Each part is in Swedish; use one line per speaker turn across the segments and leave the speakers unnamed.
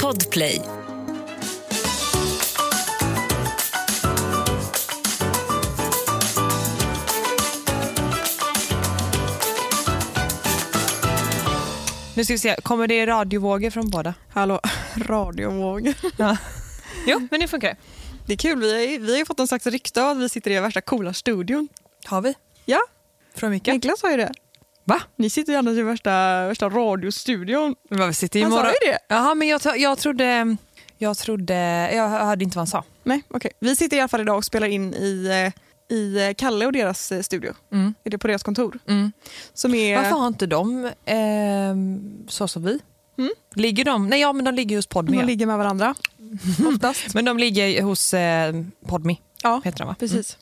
Podplay.
Nu ska vi se, kommer det radiovågor från båda?
Hallå, radiovågor.
Jo, men nu funkar det.
Det är kul, vi har, ju- vi har ju fått en slags rykte av att vi sitter i den värsta coola studion.
Har vi?
Ja,
Från Micke?
Niklas sa ju det.
Va?
Ni sitter ju annars i värsta, värsta radiostudion.
Men vi sitter ju
Han sa
imorgon.
ju det.
Jaha, men jag, tro- jag trodde... Jag trodde... Jag hörde inte vad han sa.
Nej, okej. Vi sitter i alla fall idag och spelar in i, eh, i eh, Kalle och deras eh, studio.
Mm.
Är det på deras kontor?
Mm.
Som är...
Varför har inte de ehm, så som vi?
Mm.
Ligger de? Nej, ja, men de ligger hos Podme.
De ligger med varandra. Oftast.
Men de ligger hos eh, Podme,
Ja,
heter de va?
precis.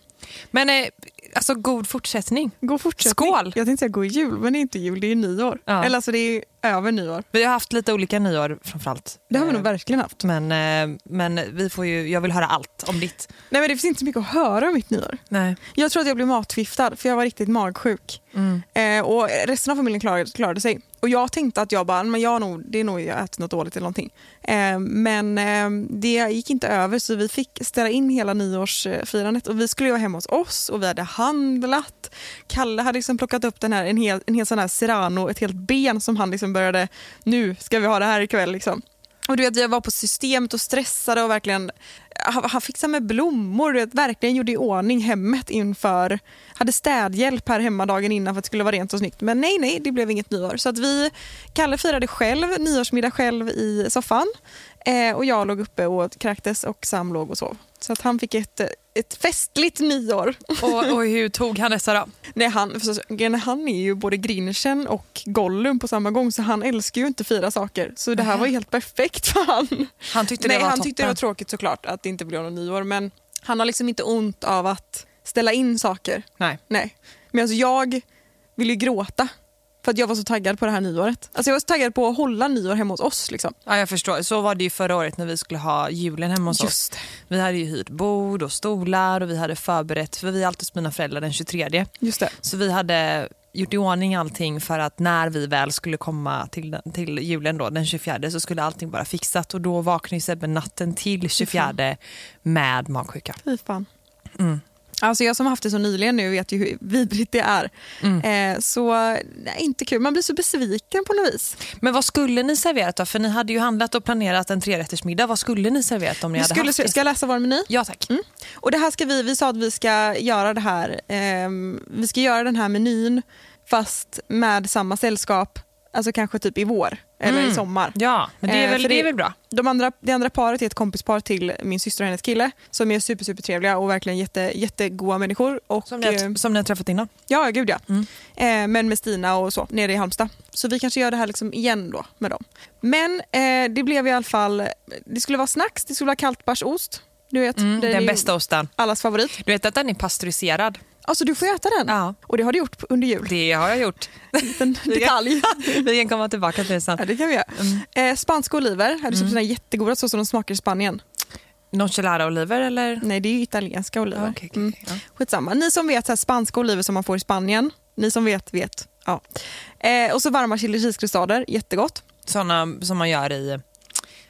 Men eh, alltså god fortsättning.
God fortsättning.
Skål!
Jag tänkte säga god jul, men det är inte jul, det är nyår.
Ja.
Eller alltså det är över nyår.
Vi har haft lite olika nyår framförallt.
Det har vi
Eh,
nog verkligen haft.
men, eh, men vi får ju, jag vill höra allt om ditt.
Nej men det finns inte så mycket att höra om mitt nyår.
Nej.
Jag tror att jag blev matförgiftad för jag var riktigt magsjuk.
Mm.
Eh, och resten av familjen klarade, klarade sig. Och jag tänkte att jag bara, men jag har nog, det är nog jag har ätit något dåligt eller någonting. Eh, men eh, det gick inte över så vi fick ställa in hela nyårsfirandet och vi skulle ju vara hemma hos oss och vi hade handlat. Kalle hade liksom plockat upp den här, en, hel, en hel sån här serrano, ett helt ben som han liksom började, nu ska vi ha det här ikväll liksom. Och du vet, jag var på systemet och stressade och verkligen han han fixade med blommor, du vet, verkligen gjorde i ordning hemmet inför, hade städhjälp här hemma dagen innan för att det skulle vara rent och snyggt. Men nej, nej, det blev inget nyår. Så att vi, Kalle firade själv, nyårsmiddag själv i soffan eh, och jag låg uppe och kräktes och Sam låg och sov. Så att han fick ett, ett festligt nyår.
Och, och hur tog han detta då?
Nej, han, för- han är ju både grinchen och Gollum på samma gång så han älskar ju inte fyra saker. Så det här var ju helt perfekt för han.
Han tyckte
Nej,
det var
han
toppen.
tyckte det var tråkigt såklart att det inte blev någon nyår men han har liksom inte ont av att ställa in saker.
Nej.
Nej. Men alltså jag ville ju gråta för att jag var så taggad på det här nyåret. Alltså jag var så taggad på att hålla nyår hemma hos oss. Liksom.
Ja, jag förstår. Så var det ju förra året när vi skulle ha julen hemma hos oss. Vi hade ju hyrt bord och stolar och vi hade förberett, för vi är alltid hos mina föräldrar den 23.
Just det.
Så vi hade gjort i ordning allting för att när vi väl skulle komma till, den- till julen då, den 24 så skulle allting vara fixat och då vaknade ju Sebbe natten till 24 med magsjuka.
Fy fan.
Mm.
Alltså jag som har haft det så nyligen nu vet ju hur vidrigt det är.
Mm.
Eh, så nej, inte kul. Man blir så besviken på något vis.
Men vad skulle ni serverat då? För ni hade ju handlat och planerat en trerättersmiddag. Vad skulle ni serverat om ni
Vi
hade
skulle,
haft det?
ska jag läsa vår meny?
Ja tack. Mm.
Och det här ska vi, vi sa att vi ska göra det här. ehm, vi ska göra den här menyn fast med samma sällskap. Alltså kanske typ i vår eller
Mm.
i sommar.
Ja, men det är,
Eh,
väl,
för
det är
det-
väl bra.
De andra, det andra paret är ett kompispar till min syster och hennes kille som är super, super trevliga och verkligen jätte, jättegoda människor. Och,
Som ni, har, Mm.
eh,
som ni har träffat innan.
ja, gud ja. Eh, men med Stina och så nere i Halmstad. Så vi kanske gör det här liksom igen då med dem. Men eh, det blev i alla fall, det skulle vara snacks, det skulle vara kaltbärsost. Du vet,
Mm,
det är
den
ju
bästa osten.
Allas favorit.
Du vet att den är pasteuriserad?
Alltså du får äta den?
Ja.
Och det har du gjort på- under jul?
Det har jag gjort.
En detalj.
Vi kan komma tillbaka till det sen.
Ja, det kan vi göra.
Mm.
Eh, spanska oliver, hade du köpt såna jättegoda så som de smakar i Spanien?
Nonchalara-oliver eller?
Nej, det är ju italienska oliver.
Ja, okej, okej,
Mm.
okej, ja.
Skitsamma. Ni som vet så här, spanska oliver som man får i Spanien, ni som vet, vet. Ja. Eh, och så varma chili cheese-crustader, jättegott.
Såna som man gör i,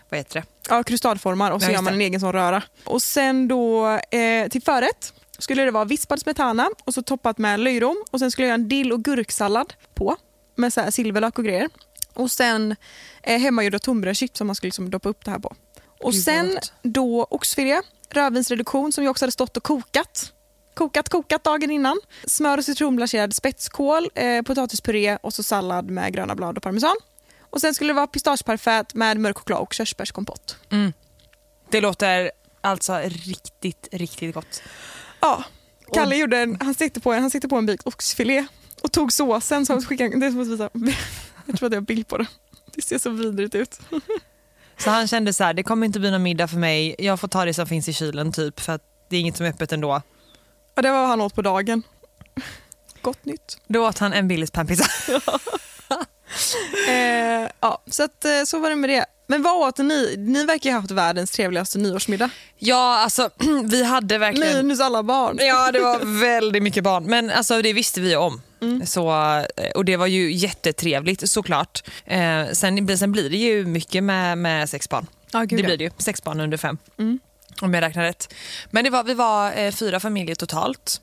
vad heter det?
Ja, krustadformar och så
Ja, just
gör man
det.
en egen sån röra. Och sen då eh, till förrätt skulle det vara vispad smetana och så toppat med löjrom och sen skulle jag göra en dill och gurksallad på med så här silverlök och grejer. Och sen eh, hemmagjorda tunnbrödschips som man skulle liksom doppa upp det här på. Och
Gud, vad
sen
gott.
då oxfilé, rödvinsreduktion som jag också hade stått och kokat. Kokat, kokat dagen innan. Smör och citronblancherad spetskål, eh, potatispuré och så sallad med gröna blad och parmesan. Och sen skulle det vara pistageparfait med mörk choklad och körsbärskompott.
Mm. Det låter alltså riktigt, riktigt gott.
Ja, Kalle gjorde en, han sitter på en, han sitter på en bit oxfilé och tog såsen som skickade, det är som att visa, jag tror att jag har bild på det. Det ser så vidrigt ut.
Så han kände så här, det kommer inte bli någon middag för mig, jag får ta det som finns i kylen typ för att det är inget som är öppet ändå.
Och det var vad han åt på dagen. Gott nytt.
Då åt han en Billys panpizza.
Eh, ja, så, att, eh, så var det med det. Men vad åt ni? Ni verkar ju ha haft världens trevligaste nyårsmiddag.
Ja, alltså vi hade verkligen...
Minus alla barn.
Ja, det var väldigt mycket barn. Men alltså, det visste vi om.
Mm.
Så, eh, och det var ju jättetrevligt såklart. Eh, sen, blir- sen blir det ju mycket med, med sex barn.
Ja,
det blir det ju. Sex barn under fem.
Mm.
Om jag räknar rätt. Men det var, vi var eh, fyra familjer totalt.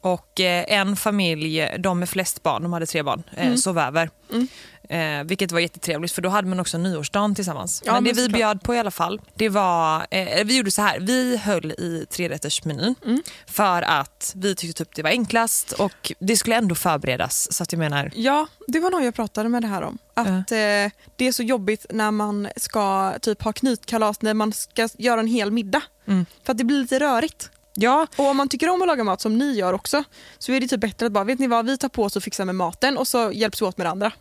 Och eh, en familj, de med flest barn, de hade tre barn, eh, sov över.
Mm.
Eh, vilket var jättetrevligt för då hade man också nyårsdagen tillsammans.
Ja,
men det
men
vi
såklart.
bjöd på i alla fall, det var, eh, vi gjorde så här, vi höll i trerättersmenyn
Mm.
för att vi tyckte typ det var enklast och det skulle ändå förberedas. Så att jag menar,
Ja, det var någon jag pratade med det här om. Att eh, det är så jobbigt när man ska typ ha knytkalas, när man ska göra en hel middag.
Mm.
För att det blir lite rörigt.
ja,
Och om man tycker om att laga mat som ni gör också så är det typ bättre att bara, vet ni vad, vi tar på oss och fixar med maten och så hjälps vi åt med det andra.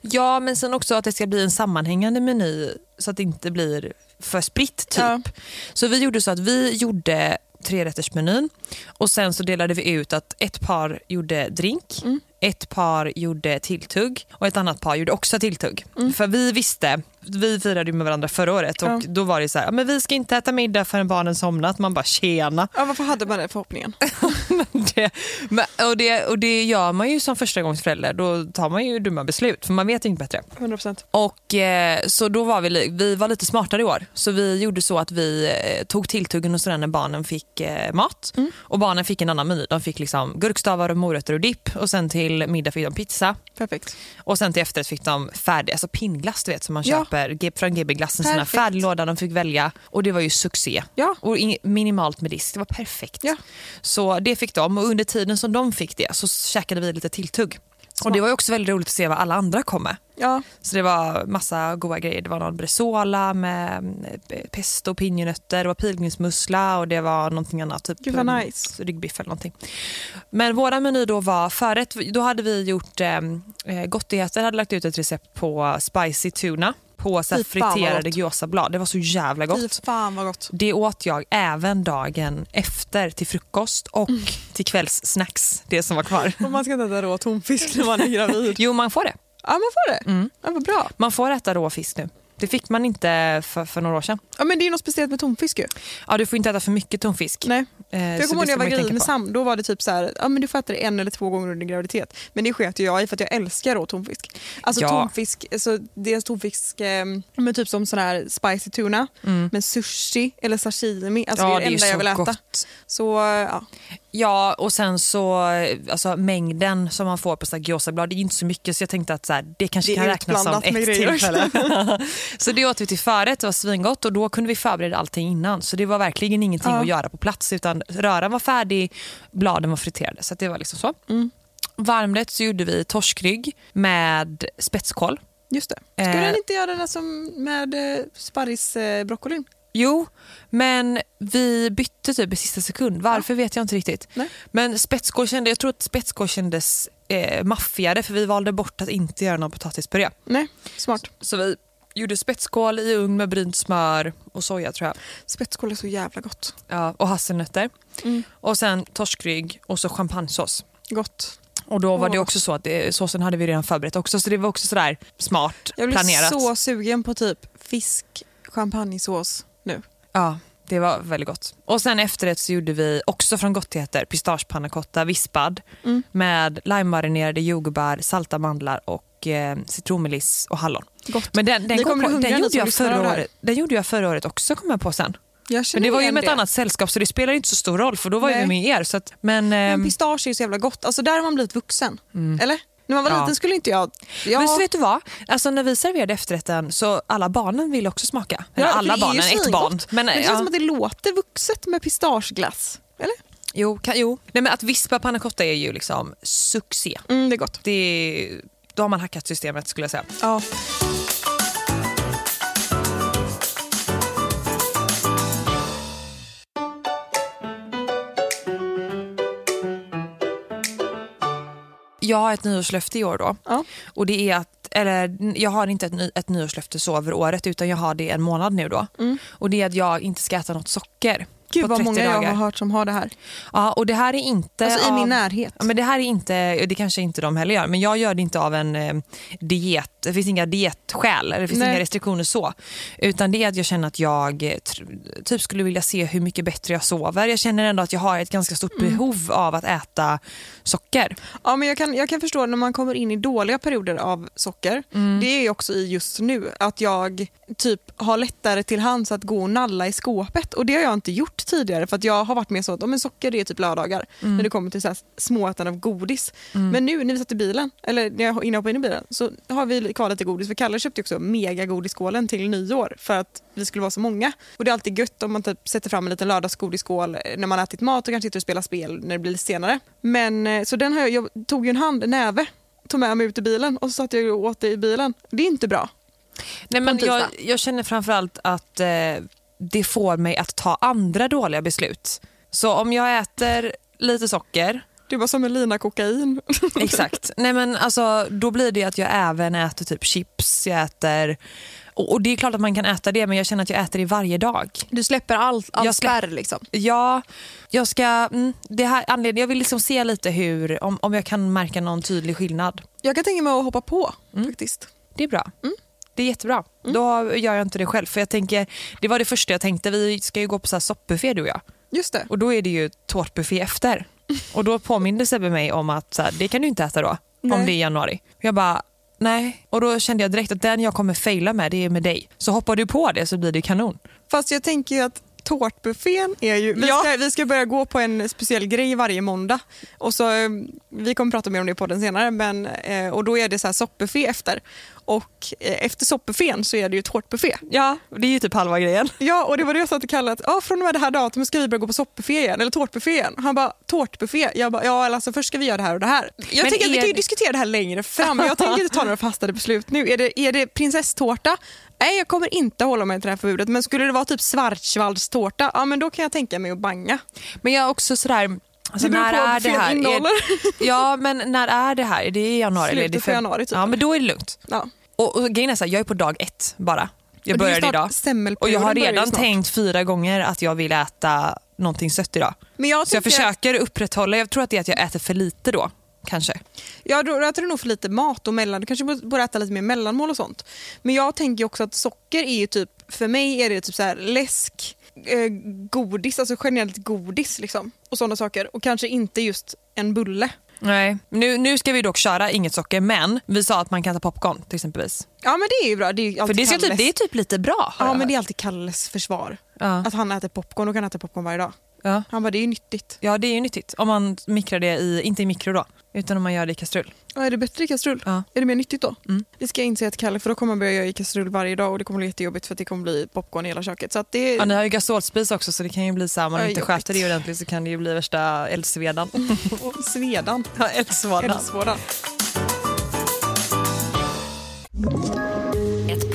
Ja, men sen också att det ska bli en sammanhängande meny så att det inte blir för spritt. Typ.
Ja.
Så vi gjorde så att vi gjorde trerättersmenyn och sen så delade vi ut att ett par gjorde drink,
Mm.
ett par gjorde tilltugg och ett annat par gjorde också tilltugg. För vi visste, vi firade ju med varandra förra året och
Mm. Ja.
då var det så här, "Ja, men vi ska inte äta middag förrän barnen somnat. Man bara tjena.
Ja, varför hade man den förhoppningen?
Det, men, och, det, och det gör man ju som förstagångsförälder, då tar man ju dumma beslut för man vet ju inte bättre.
100%.
Och, eh, så då var vi, li- vi var lite smartare i år. Så vi gjorde så att vi eh, tog tilltuggen och sådär när barnen fick eh, mat.
Mm.
Och barnen fick en annan meny. De fick liksom gurkstavar och morötter och dipp. Och sen till middag fick de pizza.
Perfekt.
Och sen till efterrätt fick de färdig, alltså pinnglass du vet som man
Ja.
köper G- från GB Glass. En sån här
Perfekt.
färdiglåda de fick välja. Och det var ju succé.
Ja.
Och ing- minimalt med disk, det var perfekt.
Ja.
Så det fick de och under tiden som de fick det så käkade vi lite tilltugg. Och
Smart.
det var ju också väldigt roligt att se vad alla andra kom med.
Ja,
Så det var massa goda grejer. Det var någon bresola med eh, pesto och pinjenötter, det var pilgrimsmussla och det var någonting annat. Typ
Gud, vad
eh,
nice.
Ryggbiff eller någonting. Men våra meny då var förrätt. Då hade vi gjort eh, eh, gottigheter, hade lagt ut ett recept på spicy tuna på så här,
Fy fan, vad
friterade
gott.
gyozablad. Det var så jävla gott.
fy fan vad gott.
Det åt jag även dagen efter till frukost och
Mm.
till kvällssnacks, det som var kvar.
Och man ska inte äta rå tonfisk när man är gravid.
Jo, man får det.
Ja, man får det. Ja, vad bra.
Man får äta rå fisk nu. Det fick man inte för, för några år sedan.
Ja, men det är ju något speciellt med tonfisk ju.
Ja, du får inte äta för mycket tonfisk.
Nej.
Eh,
För jag
så
kommer ihåg
det
när jag
ska man
var
ju
gravid
tänka
med
på.
Sam, då var det typ så här, ja men du får äta det en eller två gånger under graviditet. Men det sket ju jag i för att jag älskar rå tonfisk. Alltså
Ja.
tonfisk, alltså, det är tonfisk, eh, men typ som sån här spicy tuna,
Mm.
men sushi eller sashimi, alltså det är det enda jag vill äta.
gott.
Så eh, ja,
Ja, och sen så eh, alltså, mängden som man får på så här gyozablad, det är inte så mycket så jag tänkte att så här, det kanske
Det är
kan räknas som
utblandat
ett
med grejer.
tillfälle. så det åt vi till förrätt, det var svingott och då kunde vi förbereda allting innan. Så det var verkligen ingenting
Ja.
att göra på plats utan röran var färdig, bladen var friterade. Så att det var liksom så.
Mm.
Varmrätt så gjorde vi torskrygg med spetskål.
just det.
Eh.
Skulle den inte göra den här som med eh, sparrisbroccolin?
Jo, men vi bytte typ i sista sekund. Varför vet jag inte riktigt.
Nej.
Men spetskål kände, jag tror att spetskål kändes eh, maffigare för vi valde bort att inte göra någon potatispuré.
Nej, smart.
Så vi gjorde spetskål i ugn med brynt smör och soja tror jag.
Spetskål är så jävla gott.
Ja, och hasselnötter.
Mm.
Och sen torskrygg och så champagnesås.
Gott.
Och då var
Åh.
det också så att det, såsen hade vi redan förberett också så det var också sådär smart
Jag blir
planerat.
så sugen på typ fisk, champagnesås nu.
Ja, det var väldigt gott. Och sen efterrätt så gjorde vi också från gottigheter pistagepannacotta vispad
Mm.
med limemarinerade jordgubbar, salta mandlar och eh, citronmeliss och hallon.
Gott.
Men den, den,
Ni
kom
kommer
på,
bli
den,
hungriga, ni
gjorde
som
jag
lyssnar av det
förra
här.
året, den gjorde jag förra året också kom jag på sen.
Jag känner
Men det var ju
igen
med ett annat sällskap så det spelar inte så stor roll för då var
Nej.
jag med er. Så att, men, ehm,
Men pistage är ju så jävla gott. Alltså där har man blivit vuxen. Eller? När man var
Ja.
liten skulle inte jag... jag
Men så vet du vad? Alltså när vi serverade efterrätten så alla barnen ville också smaka. Eller
Ja, för
alla
det är
barnen,
ju
ett
svingott.
barn.
men det känns
ja.
som att det låter vuxet med pistageglass. Eller?
jo, kan, jo. Nej, men att vispa pannacotta är ju liksom succé.
Mm, det är gott.
det är, då har man hackat systemet skulle jag säga.
Ja.
Jag har ett nyårslöfte i år då.
Ja.
Och det är att, eller, jag har inte ett, ny, ett nyårslöfte så över året utan jag har det en månad nu då. Och det är att jag inte ska äta något socker.
Mm. Gud
på
vad
30
många jag
dagar.
har hört som har det här.
Ja, och det här är inte
Alltså i
av-
min närhet.
Ja, men det här är inte, det kanske inte de heller gör, men jag gör det inte av en eh, diet, det finns inga dietskäl, eller det finns
Nej.
inga restriktioner så. Utan det är att jag känner att jag eh, tr- typ skulle vilja se hur mycket bättre jag sover. Jag känner ändå att jag har ett ganska stort behov av att äta socker.
Ja, men jag, kan, jag kan förstå när man kommer in i dåliga perioder av socker. Det är ju också i just nu att jag typ har lättare till hands att gå och nalla i skåpet. Och Det har jag inte gjort tidigare för att jag har varit mer så att om socker det är typ lördagar när det kommer till så här småätande av godis. Men nu när vi satt i bilen, eller när jag, innan jag hoppade in i bilen så har vi kvar lite godis. För Kalle köpte ju också megagodisskålen till nyår för att vi skulle vara så många. Och Det är alltid gött om man typ sätter fram en liten lördagsgodisskål när man har ätit mat och kanske sitter och spelar spel när det blir lite senare. Men, eh, så den har jag, jag tog ju en hand, en näve, tog med mig ut i bilen och så satt jag och åt det i bilen. Det är inte bra.
Nej, men
På en
jag,
tisdag.
jag känner framförallt att eh, det får mig att ta andra dåliga beslut. Så om jag äter lite socker
Det var som en lina kokain.
Exakt. Nej, men alltså, då blir det att jag även äter typ chips, jag äter... Och, och det är klart att man kan äta det, men jag känner att jag äter det varje dag.
Du släpper all, all
Jag släpp-
spärr liksom.
Ja, jag ska... Mm, det här, anledningen, jag vill liksom se lite hur, om, om jag kan märka någon tydlig skillnad.
Jag kan tänka mig att hoppa på faktiskt.
Det är bra. Det är jättebra. Då gör jag inte det själv. För jag tänker, det var det första jag tänkte, vi ska ju gå på så här soppbuffé du och jag.
Just det.
Och då är det ju tårtbuffé efter. Och då påminde Sebbe mig om att så här, det kan du inte äta då,
Nej.
om det är januari. Och jag bara, nej. Och då kände jag direkt att den jag kommer faila med, det är med dig. Så hoppar du på det så blir det kanon.
Fast jag tänker ju att tårtbuffén är ju... Vi,
Ja.
ska, vi ska börja gå på en speciell grej varje måndag. Och så, eh, vi kommer prata mer om det på den senare. Men, eh, och då är det så här soppbuffé efter. Och eh, efter soppbuffén så är det ju tårtbuffé.
Ja, det är ju typ halva grejen.
Ja, och det var det jag sa till Kalle att ja, från och med det här datumet ska vi börja gå på soppbuffé igen, eller tårtbuffé igen. Han bara, tårtbuffé? Jag bara, ja eller alltså först ska vi göra det här och det här. Jag
Men
tänker att vi
är
kan ju
det-
diskutera det här längre fram, jag tänker inte ta några fastade beslut nu. Är det, är det prinsesstårta? Nej, jag kommer inte hålla mig till det här förbudet, men skulle det vara typ schwarzwaldstårta, ja men då kan jag tänka mig att banga.
Men jag är också sådär, alltså,
Det beror
när
på vad
är det
buffén
här?
innehåller.
Är, ja, men när är det här? Är det i januari? eller är det
Slutet på
feb-
januari, typ.
Ja, men då är det lugnt.
Ja.
Och, och grejen är så här, jag är på dag ett bara. Jag
Och det är
började
ju snart
idag. Och
semmelperioden
jag har
börjar ju
redan
snart.
tänkt fyra gånger att jag vill äta någonting sött idag.
Men jag
Så jag
tänker-
försöker upprätthålla, jag tror att det är att jag äter för lite då. Kanske.
Ja, då äter du nog för lite mat och mellan. Du kanske borde- borde äta lite mer mellanmål och sånt. Men jag tänker ju också att socker är ju typ, för mig är det typ så här läsk, eh, godis, alltså generellt godis liksom. Och sådana saker. Och kanske inte just en bulle.
Nej. Nu, nu ska vi dock köra inget socker men vi sa att man kan ta popcorn till exempelvis.
Ja men det är ju bra. Det är ju
För
alltid
det, ska
Kalles.
typ, det är typ lite bra. har
Ja
jag
men det
hört.
är alltid Kalles försvar.
Ja.
Att han äter popcorn, och kan äta popcorn varje dag.
Ja.
Han bara det är ju nyttigt.
ja det är ju nyttigt om man mikrar det i, inte i mikro då, utan om man gör det i kastrull.
Ja, är det bättre i kastrull?
Ja.
Är det mer nyttigt då?
Mm.
Vi ska inte säga till Kalle för då kommer han börja göra i kastrull varje dag och det kommer bli jättejobbigt för att det kommer bli popcorn i hela köket. Så att det...
Ja, ni har ju gasolspis också så det kan ju bli så här, om man
Ja,
inte
jobbigt.
sköter det ordentligt så kan det ju bli värsta eldsvedan.
Svedan.
Ja, eldsvådan.
Eldsvådan.
Ett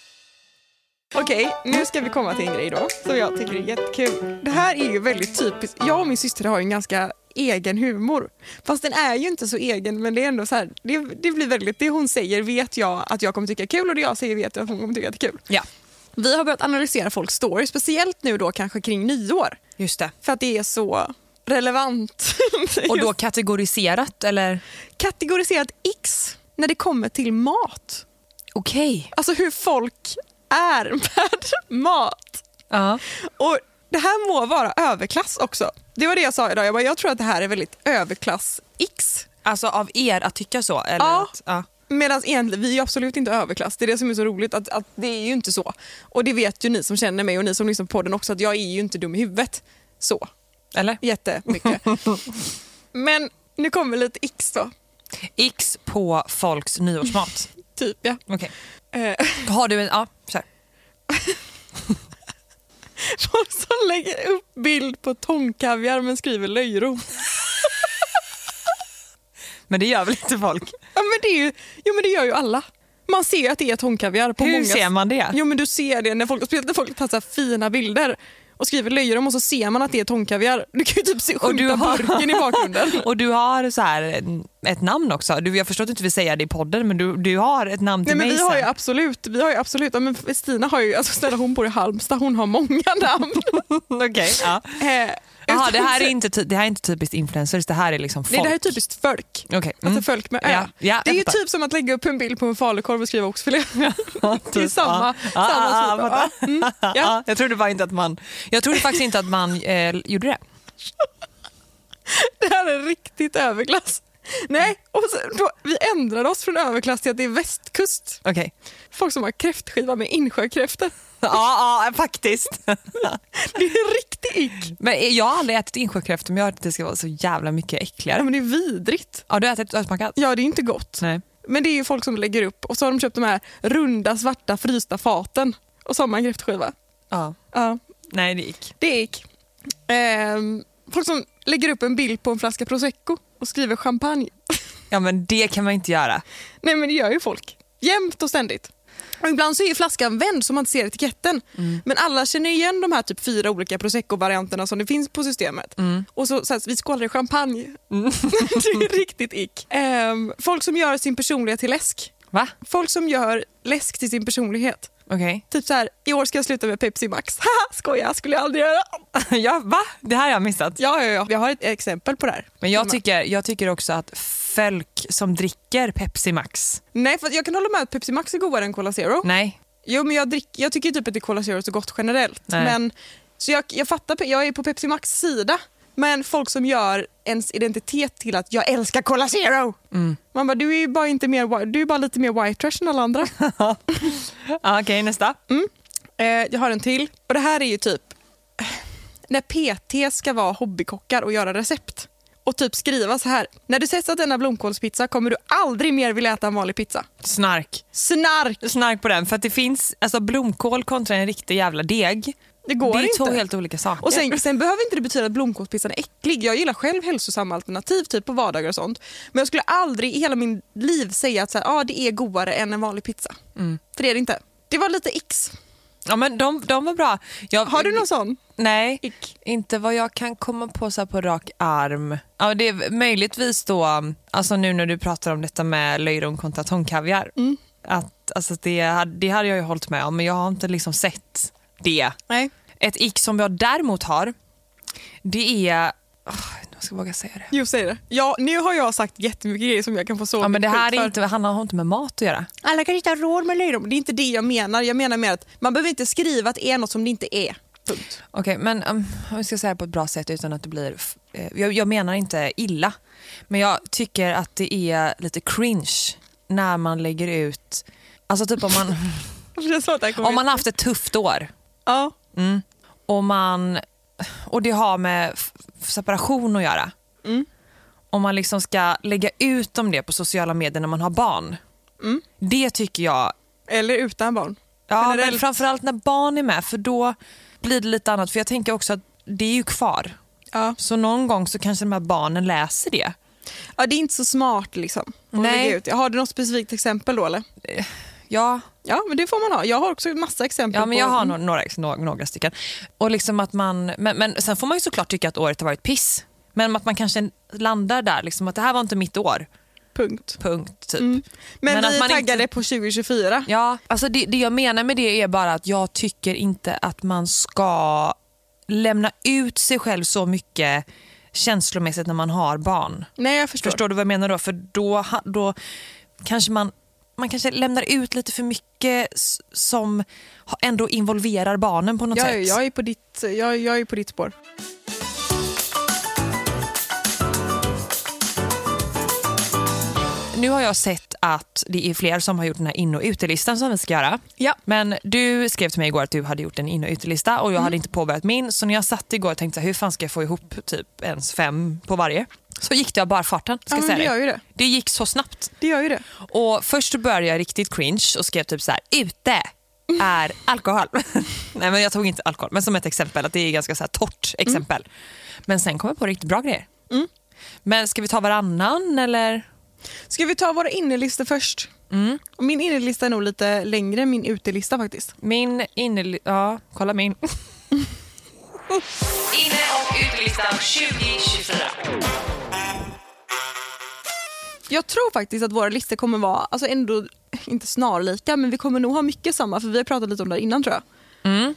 Okej, nu ska vi komma till en grej då som jag tycker är jättekul. Det här är ju väldigt typiskt. Jag och min syster har ju en ganska egen humor. Fast den är ju inte så egen men det är ändå så här, det, det blir väldigt, det hon säger vet jag att jag kommer tycka är kul och det jag säger vet jag att hon kommer tycka är kul.
Ja,
Vi har börjat analysera folks stories, speciellt nu då kanske kring nyår.
just det.
För att det är så relevant.
Och då kategoriserat eller?
kategoriserat X när det kommer till mat.
Okej.
Alltså hur folk är med mat.
Ja.
Och Det här må vara överklass också. Det var det jag sa idag. Jag, bara, jag tror att det här är väldigt överklass-X.
Alltså av er att tycka så? Eller
Ja.
Att, ja.
Medan egentligen, vi är absolut inte överklass. Det är det som är så roligt. Att, att Det är ju inte så. Och det vet ju ni som känner mig och ni som lyssnar på podden också att jag är ju inte dum i huvudet. Så,
Eller?
jättemycket. Men nu kommer lite X då.
X på folks nyårsmat.
Typ ja.
Okej.
Eh,
Har du en... Ja, kör.
Folk som lägger upp bild på tonkaviar men skriver löjrom.
Men det gör väl inte folk?
Ja, men det är ju, jo men det gör ju alla. Man ser ju att det är tonkaviar. På
Hur
många...
ser man det?
Jo men du ser det när folk, speciellt när folk tar så här fina bilder och skriver löjrom och så ser man att det är tonkaviar. Du kan ju typ se
Och du
skymta
har-
burken i bakgrunden.
Och du har så här ett namn också. Du, jag förstår att du inte vill säga det i podden men du, du har ett namn
Nej,
till
men
mig
vi har ju
sen.
absolut, vi har ju absolut, ja, men Stina har ju, alltså snälla hon bor i Halmstad, hon har många namn.
Okej, ja.
Eh,
Jaha, det här, är
utan-
inte, ty- det här är inte typiskt influencers, det här är liksom folk.
Nej, det här är typiskt folk.
Okej,
Alltså
mm.
folk med ö.
Ja, ja,
det är ju
jag fattar.
typ som att lägga upp en bild på en falukorv och skriva oxfilé. det är
Typ,
samma,
ja. Ah, Ja,
samma
ja, ja,
typ. av- ja, mm, ja.
Ja, jag trodde bara inte att man... Jag trodde faktiskt inte att man eh, gjorde det.
Det här är riktigt överklass. Nej, och så, då, vi ändrade oss från överklass till att det är västkust.
Okej.
Folk som har kräftskiva med insjökräftor.
Ja, ja, faktiskt.
Det är riktigt ick.
Men jag har aldrig ätit insjökräftor men jag har hört att det ska vara så jävla mycket
Ja,
äckligare.
men det är vidrigt.
Har du ätit och smakat?
Ja, det är inte gott.
Nej.
Men det är ju folk som lägger upp och så har de köpt de här runda svarta frysta faten och så har man kräftskiva.
Ja.
Ja,
Nej, det gick.
det gick. Ehm, folk som lägger upp en bild på en flaska prosecco och skriver champagne.
Ja, men det kan man inte göra.
Nej men det gör ju folk. Jämt och ständigt. Och ibland så är ju flaskan vänd så man inte ser etiketten. Men alla känner ju igen de här typ fyra olika prosecco-varianterna som det finns på systemet. Och så, så här, vi skålar i champagne. det är riktigt ick. Ehm, folk som gör sin personlighet till läsk.
Va?
Folk som gör läsk till sin personlighet.
Okej.
Typ så här, i år ska jag sluta med Pepsi Max. Haha, skoja, skulle jag aldrig göra.
ja, va? Det här har jag missat.
Ja, ja, ja. Jag har ett exempel på det här.
Men jag tycker, jag tycker också att folk som dricker Pepsi Max...
Nej, för jag kan hålla med att Pepsi Max är godare än Cola Zero.
Nej.
Jo, men jag, drick, jag tycker typ inte Cola Zero är så gott generellt.
Nej.
Men, så jag, jag fattar, pe- jag är på Pepsi Max sida. Men folk som gör ens identitet till att jag älskar Cola Zero.
Mm.
Man bara, du är ju bara, inte mer, wi- du är bara lite mer white trash än alla andra.
Ja, Okej, nästa.
Eh, jag har en till. Och det här är ju typ eh, när PT ska vara hobbykockar och göra recept. Och typ skriva så här. När du testat denna blomkålspizza kommer du aldrig mer vilja äta en vanlig pizza.
Snark.
Snark!
Snark på den. För att det finns alltså, blomkål kontra en riktig jävla deg.
Det går
det är
inte.
två helt olika saker.
Och sen, sen behöver inte det betyda att blomkålspizzan är äcklig. Jag gillar själv hälsosamma alternativ typ på vardagar och sånt. Men jag skulle aldrig i hela min liv säga att så här, ah, det är godare än en vanlig pizza.
Mm.
För det är det inte. Det var lite x.
Ja, men de, de var bra. Jag,
Har du någon sån?
Nej,
Ick.
inte vad jag kan komma på så här på rak arm. Ja, det är möjligtvis då, alltså nu när du pratar om detta med löjrom kontra tonkaviar. Att, alltså det, hade- det hade jag ju hållit med om, men jag har inte liksom sett det.
Nej.
Ett ick som jag däremot har, det är... Oh, jag ska jag våga säga det.
Jo, säg det. Ja, nu har jag sagt jättemycket grejer som jag kan få så
Ja, men det
mycket
här
skit
är
för.
inte, Hanna har inte med mat att göra.
Alla kanske inte har råd med löjrom. Det är inte det jag menar. Jag menar mer att man behöver inte skriva att det är något som det inte är. Punkt.
Okej, men um, om vi ska säga det på ett bra sätt utan att det blir... f- eh, jag, jag menar inte illa, men jag tycker att det är lite cringe när man lägger ut... Alltså typ om man,
Det känns som att det här kommer
om man haft ett tufft år
Ja.
och, man, och det har med f- separation att göra. Om man liksom ska lägga ut om det på sociala medier när man har barn. Det tycker jag
Eller utan barn.
Ja, men
Generellt.
framförallt när barn är med för då blir det lite annat. För jag tänker också att det är ju kvar.
Ja.
Så någon gång så kanske de här barnen läser det.
ja, det är inte så smart liksom. att
Nej.
lägga Ut. Har du något specifikt exempel då eller?
Ja,
Ja, men det får man ha. Jag har också en massa exempel.
ja men jag
på...
har några, några, ex- några, några stycken. Och liksom att man, men, men sen får man ju såklart tycka att året har varit piss. Men att man kanske landar där, liksom, att det här var inte mitt år.
Punkt.
Punkt. Typ.
Mm. Men,
Men
vi
att man
taggade
inte-
på 2024.
Ja, alltså det, det jag menar med det är bara att jag tycker inte att man ska lämna ut sig själv så mycket känslomässigt när man har barn.
Nej, jag förstår.
Förstår du vad jag menar då? För då, ha- då kanske man, man kanske lämnar ut lite för mycket s- som ha- ändå involverar barnen på något
Jag, är-
sätt.
jag, är på ditt, jag, jag är på ditt spår.
Nu har jag sett att det är fler som har gjort den här in och utelistan som vi ska göra.
Ja.
Men du skrev till mig igår att du hade gjort en in och utelista och jag
Mm.
hade inte påbörjat min. Så när jag satt igår och tänkte så här, hur fan ska jag få ihop typ ens fem på varje? Så gick det av bara farten. Ska
Ja,
jag säga
men det gör ju det.
det gick så snabbt.
Det gör ju det.
Och först så började jag riktigt cringe och skrev typ så här ute. är alkohol. Nej men jag tog inte alkohol, men som ett exempel, att det är ganska så här torrt exempel.
Mm.
Men sen kommer jag på riktigt bra grejer. Men ska vi ta varannan eller?
Ska vi ta våra innerlistor först?
Mm.
Min innerlista är nog lite längre än min utelista faktiskt.
Min inne... Ja, kolla min.
Inne och utelistan 2024.
Jag tror faktiskt att våra listor kommer vara, alltså ändå inte snarlika, men vi kommer nog ha mycket samma för vi har pratat lite om det här innan tror jag.
Mm.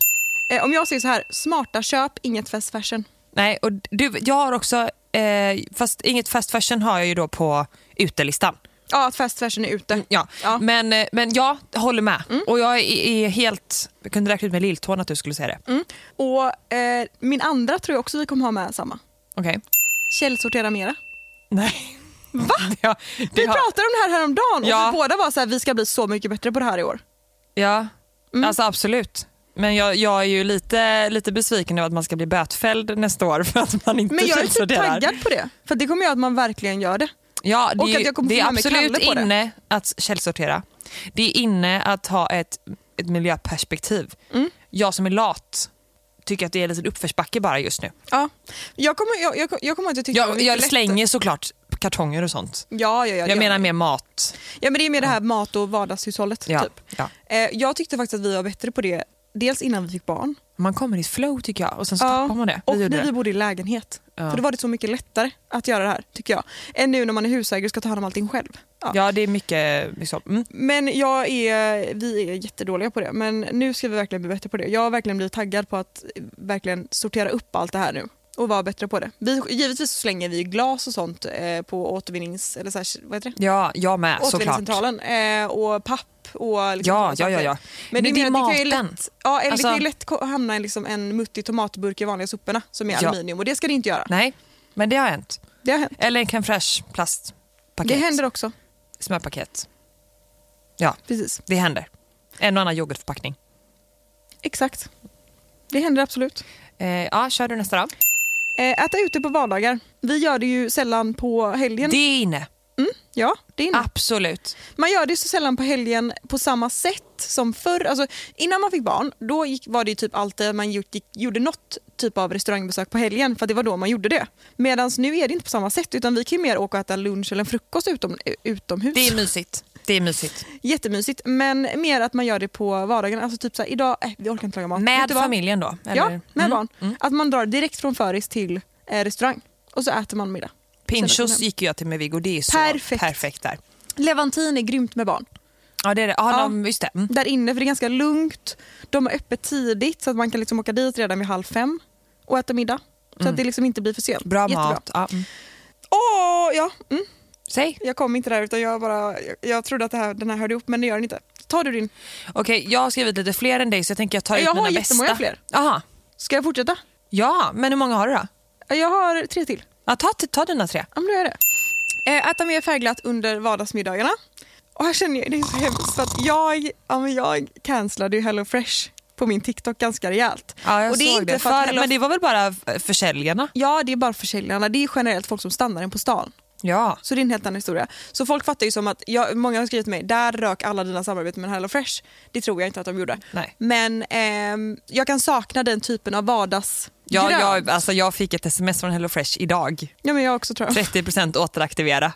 Eh, om jag säger så här, smarta köp, inget fast fashion.
Nej, och du, jag har också, eh, fast inget fast fashion har jag ju då på utelistan.
Ja, att fast fashion är ute.
Mm, Ja. Mm.
Ja.
Men, eh, men jag håller med. Och jag är, är helt, jag kunde räkna ut med lilltån att du skulle säga det.
Mm. Och eh, min andra tror jag också vi kommer ha med samma.
Okej.
Källsortera mera.
Nej. Va? Ja, det
Vi
har-
pratade om det här häromdagen
Ja.
och vi båda var så här, vi ska bli så mycket bättre på det här i år.
Ja, alltså absolut. Men jag, jag är ju lite, lite besviken över att man ska bli bötfälld nästa år för att man inte
Men jag är typ
källsorterar.
taggad på det. För det kommer göra att man verkligen gör det.
Ja, det
Och
är,
att
ju-
jag kommer
det
få
är
med mig
absolut
Kalle på det.
inne att källsortera. Det är inne att ha ett, ett miljöperspektiv. Jag som är lat tycker att det är en liten uppförsbacke bara just nu.
Ja. Jag kommer, jag, jag, jag kommer inte tycka det var
Jag, jag
lätt.
slänger såklart kartonger och sånt.
Ja, ja, ja,
Jag
ja.
menar mer mat.
ja, men det är mer det här mat och vardagshushållet.
Ja,
Typ.
ja.
Eh, jag tyckte faktiskt att vi var bättre på det, dels innan vi fick barn.
Man kommer i ett flow tycker jag och sen så tappar man det.
och
Vi gjorde
när vi
det.
bodde i lägenhet.
Ja.
För då var det så mycket lättare att göra det här, tycker jag. Än nu när man är husägare och ska ta hand om allting själv. Ja.
Ja, det är mycket liksom. Mm.
Men jag är, vi är jättedåliga på det, men nu ska vi verkligen bli bättre på det. Jag har verkligen blivit taggad på att eh, verkligen sortera upp allt det här nu och vara bättre på det. Vi, givetvis så slänger vi glas och sånt eh, på återvinnings... Eller så här, vad heter det?
Ja, jag med såklart.
Återvinningscentralen. Eh, och papp och... Liksom
Ja,
sånt
ja, ja,
där.
ja.
Men,
Men
det,
det
är
är
mer att det kan ju
maten.
lätt, ja, eller
Alltså-
det kan ju lätt ko- hamna i liksom en muttig tomatburk i vanliga soporna som är
Ja.
aluminium och det ska det inte göra.
Nej, men det har hänt.
Det, har hänt.
Eller en crème fraîche plastpaket.
det händer också.
Smörpaket. Ja,
Precis.
det händer. En och annan yoghurtförpackning.
Exakt. Det händer absolut.
Eh, ja, kör du nästa då.
Eh, Äta ute på vardagar. Vi gör det ju sällan på helgen.
Det är
Mm.
inne.
Ja, det är inne.
Absolut.
Man gör det så sällan på helgen på samma sätt som förr. Alltså, innan man fick barn då gick, var det ju typ alltid att man gjort, gick, gjorde något typ av restaurangbesök på helgen för att det var då man gjorde det. Medan nu är det inte på samma sätt utan vi kan ju mer åka och äta lunch eller en frukost utom, utomhus.
Det är mysigt. Det är mysigt.
Jättemysigt men mer att man gör det på vardagen. Alltså typ såhär, idag, eh, vi orkar inte laga mat. Vet
Med
du vad?
familjen då? Eller?
Ja, med
Mm.
barn. Att man drar direkt från föris till eh, restaurang och så äter man middag. Sen
Pinchos
åker man
gick ju jag till med Viggo. Det är så
Perfekt.
perfekt, där.
hem. Levantin är grymt med barn.
Ja, det är det. Ja,
Ja.
De, just det. Mm.
där inne för det är ganska lugnt. De har öppet tidigt så att man kan liksom åka dit redan vid halv fem och äta middag. Så att det liksom inte blir för sent.
Mm. Bra
Jättebra.
mat. Ja, mm.
Åh, ja. Mm.
Säg.
Jag kom inte där utan jag bara, jag, jag trodde att det här, den här hörde ihop men det gör den inte. Tar du din?
Okej, jag har skrivit lite fler än dig så jag tänker jag tar
Jag
ut
har
mina bästa.
jättemånga fler.
Aha.
Ska jag fortsätta?
Ja, men hur många har du då?
Jag har tre till.
Ja, ta, ta dina tre.
Ja men då gör jag det. Eh, Äta mer färgglatt under vardagsmiddagarna. Och här känner jag, det är så hemskt för att jag, ja, men jag cancellade ju Hello Fresh på min TikTok ganska rejält.
Ja, jag
och det är
såg
inte
det.
för att
För,
Hello
men det var väl bara eh, försäljarna?
Ja, det är bara försäljarna. Det är generellt folk som stannar en på stan.
Ja.
Så det är en helt annan historia. Så folk fattar ju som att, jag, många har skrivit till mig, där rök alla dina samarbeten med Hello Fresh. Det tror jag inte att de gjorde.
Nej.
Men ehm, jag kan sakna den typen av vardags...
Ja,
grön.
jag, alltså jag fick ett sms från HelloFresh idag.
ja men jag också tror jag.
30 återaktivera.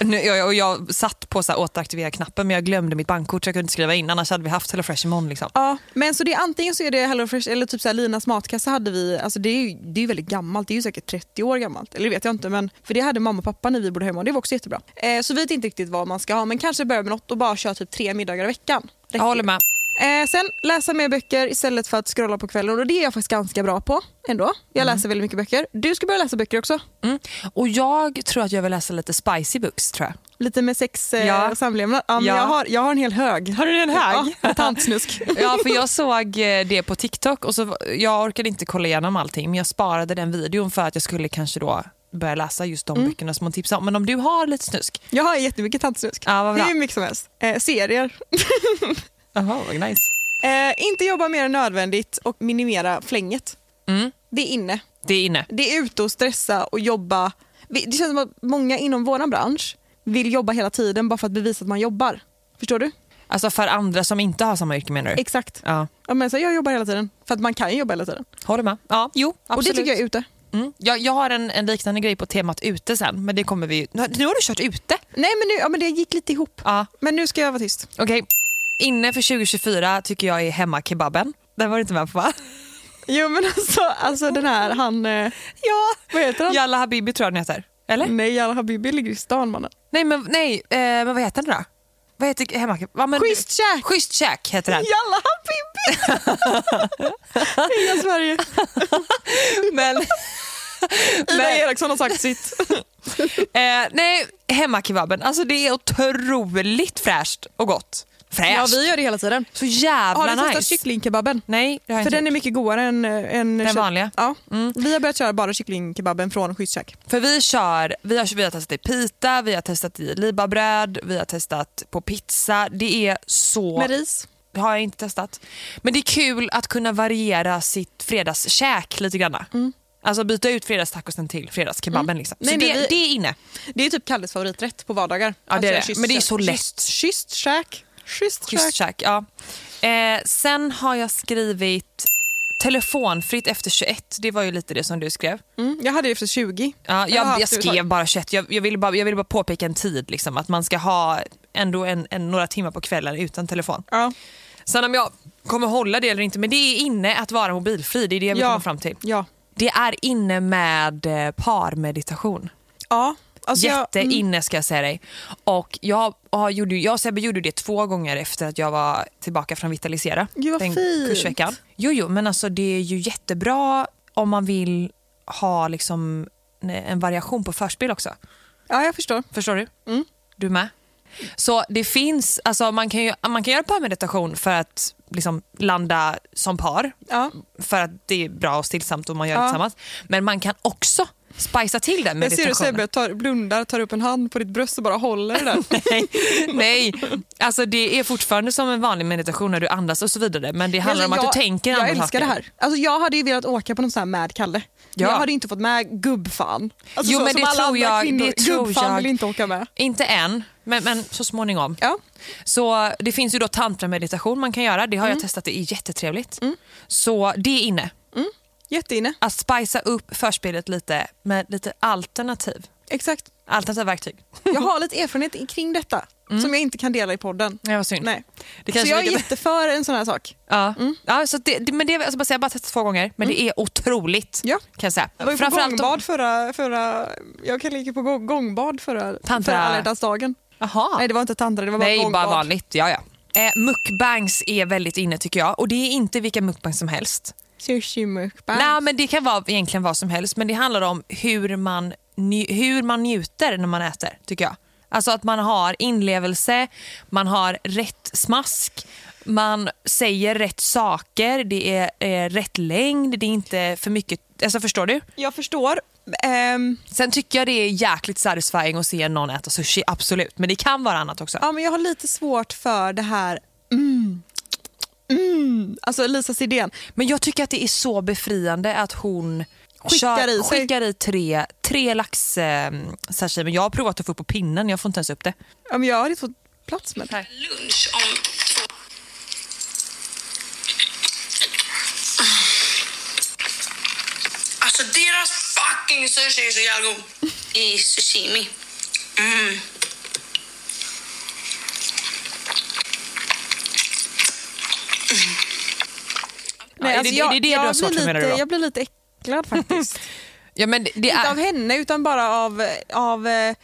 Nu, jag, och jag satt på så här återaktivera-knappen men jag glömde mitt bankkort så jag kunde inte skriva in. Annars hade vi haft HelloFresh imorgon. Liksom.
Ja, men så det är antingen så är det Hello Fresh eller typ så här Linas matkassa hade vi, alltså det är ju det är ju väldigt gammalt, det är ju säkert 30 år gammalt, eller det vet jag inte men för det hade mamma och pappa när vi bodde hemma och det var också jättebra. Eh, så vi vet inte riktigt vad man ska ha men kanske börja med något och bara köra typ tre middagar i veckan. Räcker
Jag håller med.
Eh, sen läsa mer böcker istället för att scrolla på kvällen och det är jag faktiskt ganska bra på ändå. Jag läser väldigt mycket böcker. Du ska börja läsa böcker också.
Mm. Och jag tror att jag vill läsa lite spicy books tror jag.
Lite med sex eh,
Ja.
och samlevnad. Ja, men
Ja.
Jag, har, jag har en hel hög. Har du en
hög?
Ja, tantsnusk.
Ja, för jag såg eh, det på TikTok och så, jag orkade inte kolla igenom allting men jag sparade den videon för att jag skulle kanske då börja läsa just
Mm.
de böckerna som hon tipsade om. Men om du har lite snusk?
jag har jättemycket tantsnusk.
Ja, vad
det
bra.
är hur mycket som helst. Eh, serier.
Jaha, vad nice.
Eh, inte jobba mer än nödvändigt och minimera flänget. Det är inne.
Det är inne.
Det är ute och stressa och jobba. Vi- Det känns som att många inom vår bransch vill jobba hela tiden bara för att bevisa att man jobbar. Förstår du?
Alltså för andra som inte har samma yrke menar du?
Exakt.
ja.
Ja, men så jag jobbar hela tiden, för att man kan ju jobba hela tiden.
Håller med. Ja, jo,
Och
absolut.
det tycker jag är ute.
Mm. Jag, jag har en, en liknande grej på temat ute sen, men det kommer vi ju... Nu har nu har du kört ute.
Nej, men, nu, ja, men det gick lite ihop.
Ja,
Men nu ska jag vara tyst.
okej. Inne för 2024 tycker jag är hemmakebaben. Den var du inte med på va?
Jo, men alltså, alltså den här, han... eh,
Ja!
Vad heter han?
Jalla Habibi tror jag den heter. Eller?
Nej, Jalla Habibi ligger i stan, mannen.
Nej, men, nej, eh, men vad heter den då? Vad heter hemmakebaben? Ja, men-
Schysst käk!
Schysst käk heter den.
Jalla Habibi! Hela Sverige.
Men,
Ida
men,
Eriksson har sagt sitt.
Eh, nej, hemmakebaben. Alltså det är otroligt fräscht och gott.
Ja,
Fräscht.
vi gör det hela tiden.
Så
Har
jävla
du testat
nice.
kycklingkebaben?
Nej, det har jag
För
inte
den är mycket godare än... eh, än
Den vanliga? Mm.
Ja. Vi har börjat köra bara kycklingkebaben från Schysst käk.
För vi kör, vi har, vi har testat i pita, vi har testat i libabröd, vi har testat på pizza. Det är så...
Med ris.
Det har jag inte testat. Men det är kul att kunna variera sitt fredagskäk lite grann. Alltså byta ut fredagstacosen till fredagskebaben. Liksom. Så
Mm. Nej, nej,
det,
vi-
det är inne.
Det är typ Kalles favoriträtt på vardagar. Alltså,
Ja, det är det.
kyss-
Men det är så
kyss-
lätt.
Kysst käk. Kysst
Schysst
käk.
käk. Ja. Eh, sen har jag skrivit telefonfritt efter 21. Det var ju lite det som du skrev.
Mm, jag hade det efter 20.
Ja,
har haft
jag,
det
jag
ett
skrev
tag.
bara 21. Jag, jag, ville bara, jag ville bara påpeka en tid. Liksom, att man ska ha ändå en, en, några timmar på kvällen utan telefon.
Ja.
Sen om jag kommer hålla det eller inte, men det är inne att vara mobilfri. Det är det jag vill
Ja.
komma fram till.
Ja.
Det är inne med eh, parmeditation.
ja. Alltså jag- mm.
Jätteinne ska jag säga dig. Och jag, har- gjorde, ju- jag och Sebbe gjorde ju det två gånger efter att jag var tillbaka från Vitalisera.
Gud, vad
den
fint.
kursveckan. Jo, jo, men alltså det är ju jättebra om man vill ha liksom en variation på förspel också.
Ja, jag förstår.
Förstår du?
Mm.
Du med? Så det finns, alltså man kan ju man kan göra parmeditation för att liksom landa som par.
Ja.
För att det är bra och stillsamt och man gör det
Ja.
tillsammans. Men man kan också spicea till den
Jag ser hur
meditationen.
Sebbe tar, blundar, tar upp en hand på ditt bröst och bara håller det där.
Nej, nej, alltså det är fortfarande som en vanlig meditation när du andas och så vidare. Men det handlar om
Alltså,
att du
jag-
tänker
Jag
andra
älskar
saker.
det här. Alltså, jag hade ju velat åka på någon sån här med Kalle. Men
Ja.
Jag hade inte fått med gubbfan. Alltså,
Jo,
så,
men
som
det
alla
tror
andra
jag-
Kvinnor,
det tror
gubbfan
jag.
vill inte åka med.
Inte än, men, men så småningom.
Ja.
Så det finns ju då tantrameditation man kan göra. Det har jag
Mm.
testat, det är jättetrevligt. Så det är inne.
Jätteinne.
Att spicea upp förspelet lite med lite alternativ.
Exakt.
Alternativa verktyg.
Jag har lite erfarenhet i- kring detta som jag inte kan dela i podden.
Nej, Mm. vad synd.
Nej.
Det
Så
kanske
jag
vi
är
kan-
jätteför en sån här sak.
Ja.
Mm.
Ja, så det, det, men det, alltså, bara säga, jag har bara testat två gånger, men det är otroligt.
Ja.
Kan jag säga.
Jag var ju på
Framförallt om-
gångbad förra, förra... Jag kan lika på gå- gångbad förra,
Tantra-
förra alla hjärtans dagen.
Jaha.
Nej, det var inte tantra, det var bara
Nej,
gångbad.
bara vanligt. Ja, ja. Eh, mukbangs är väldigt inne tycker jag och det är inte vilka mukbangs som helst.
Sushi mukbang.
Nej, men Det kan vara egentligen vad som helst men det handlar om hur man, nj- hur man njuter när man äter tycker jag. Alltså att man har inlevelse, man har rätt smask, man säger rätt saker, det är eh, rätt längd, det är inte för mycket. Alltså förstår du?
Jag förstår. Ehm,
Sen tycker jag det är jäkligt satisfying att se någon äta sushi, absolut. Men det kan vara annat också.
ja, men jag har lite svårt för det här... Mm. Mm. Alltså Lisas idén.
Men jag tycker att det är så befriande att hon
Skickar i sig.
skickar i tre, tre lax eh, sashimi. Jag har provat att få upp på pinnen, jag får inte ens upp det.
Ja, men jag har inte fått plats med det.
Lunch om två... Alltså deras fucking sushi är så jävla god. I sashimi. Mm.
är det-
alltså,
är
jag,
det det du har
jag,
svårt
blir
för, menar
lite,
du då?
jag blir lite äcklad faktiskt.
Ja, men det, det
Inte av
är,
henne utan bara av, av eh,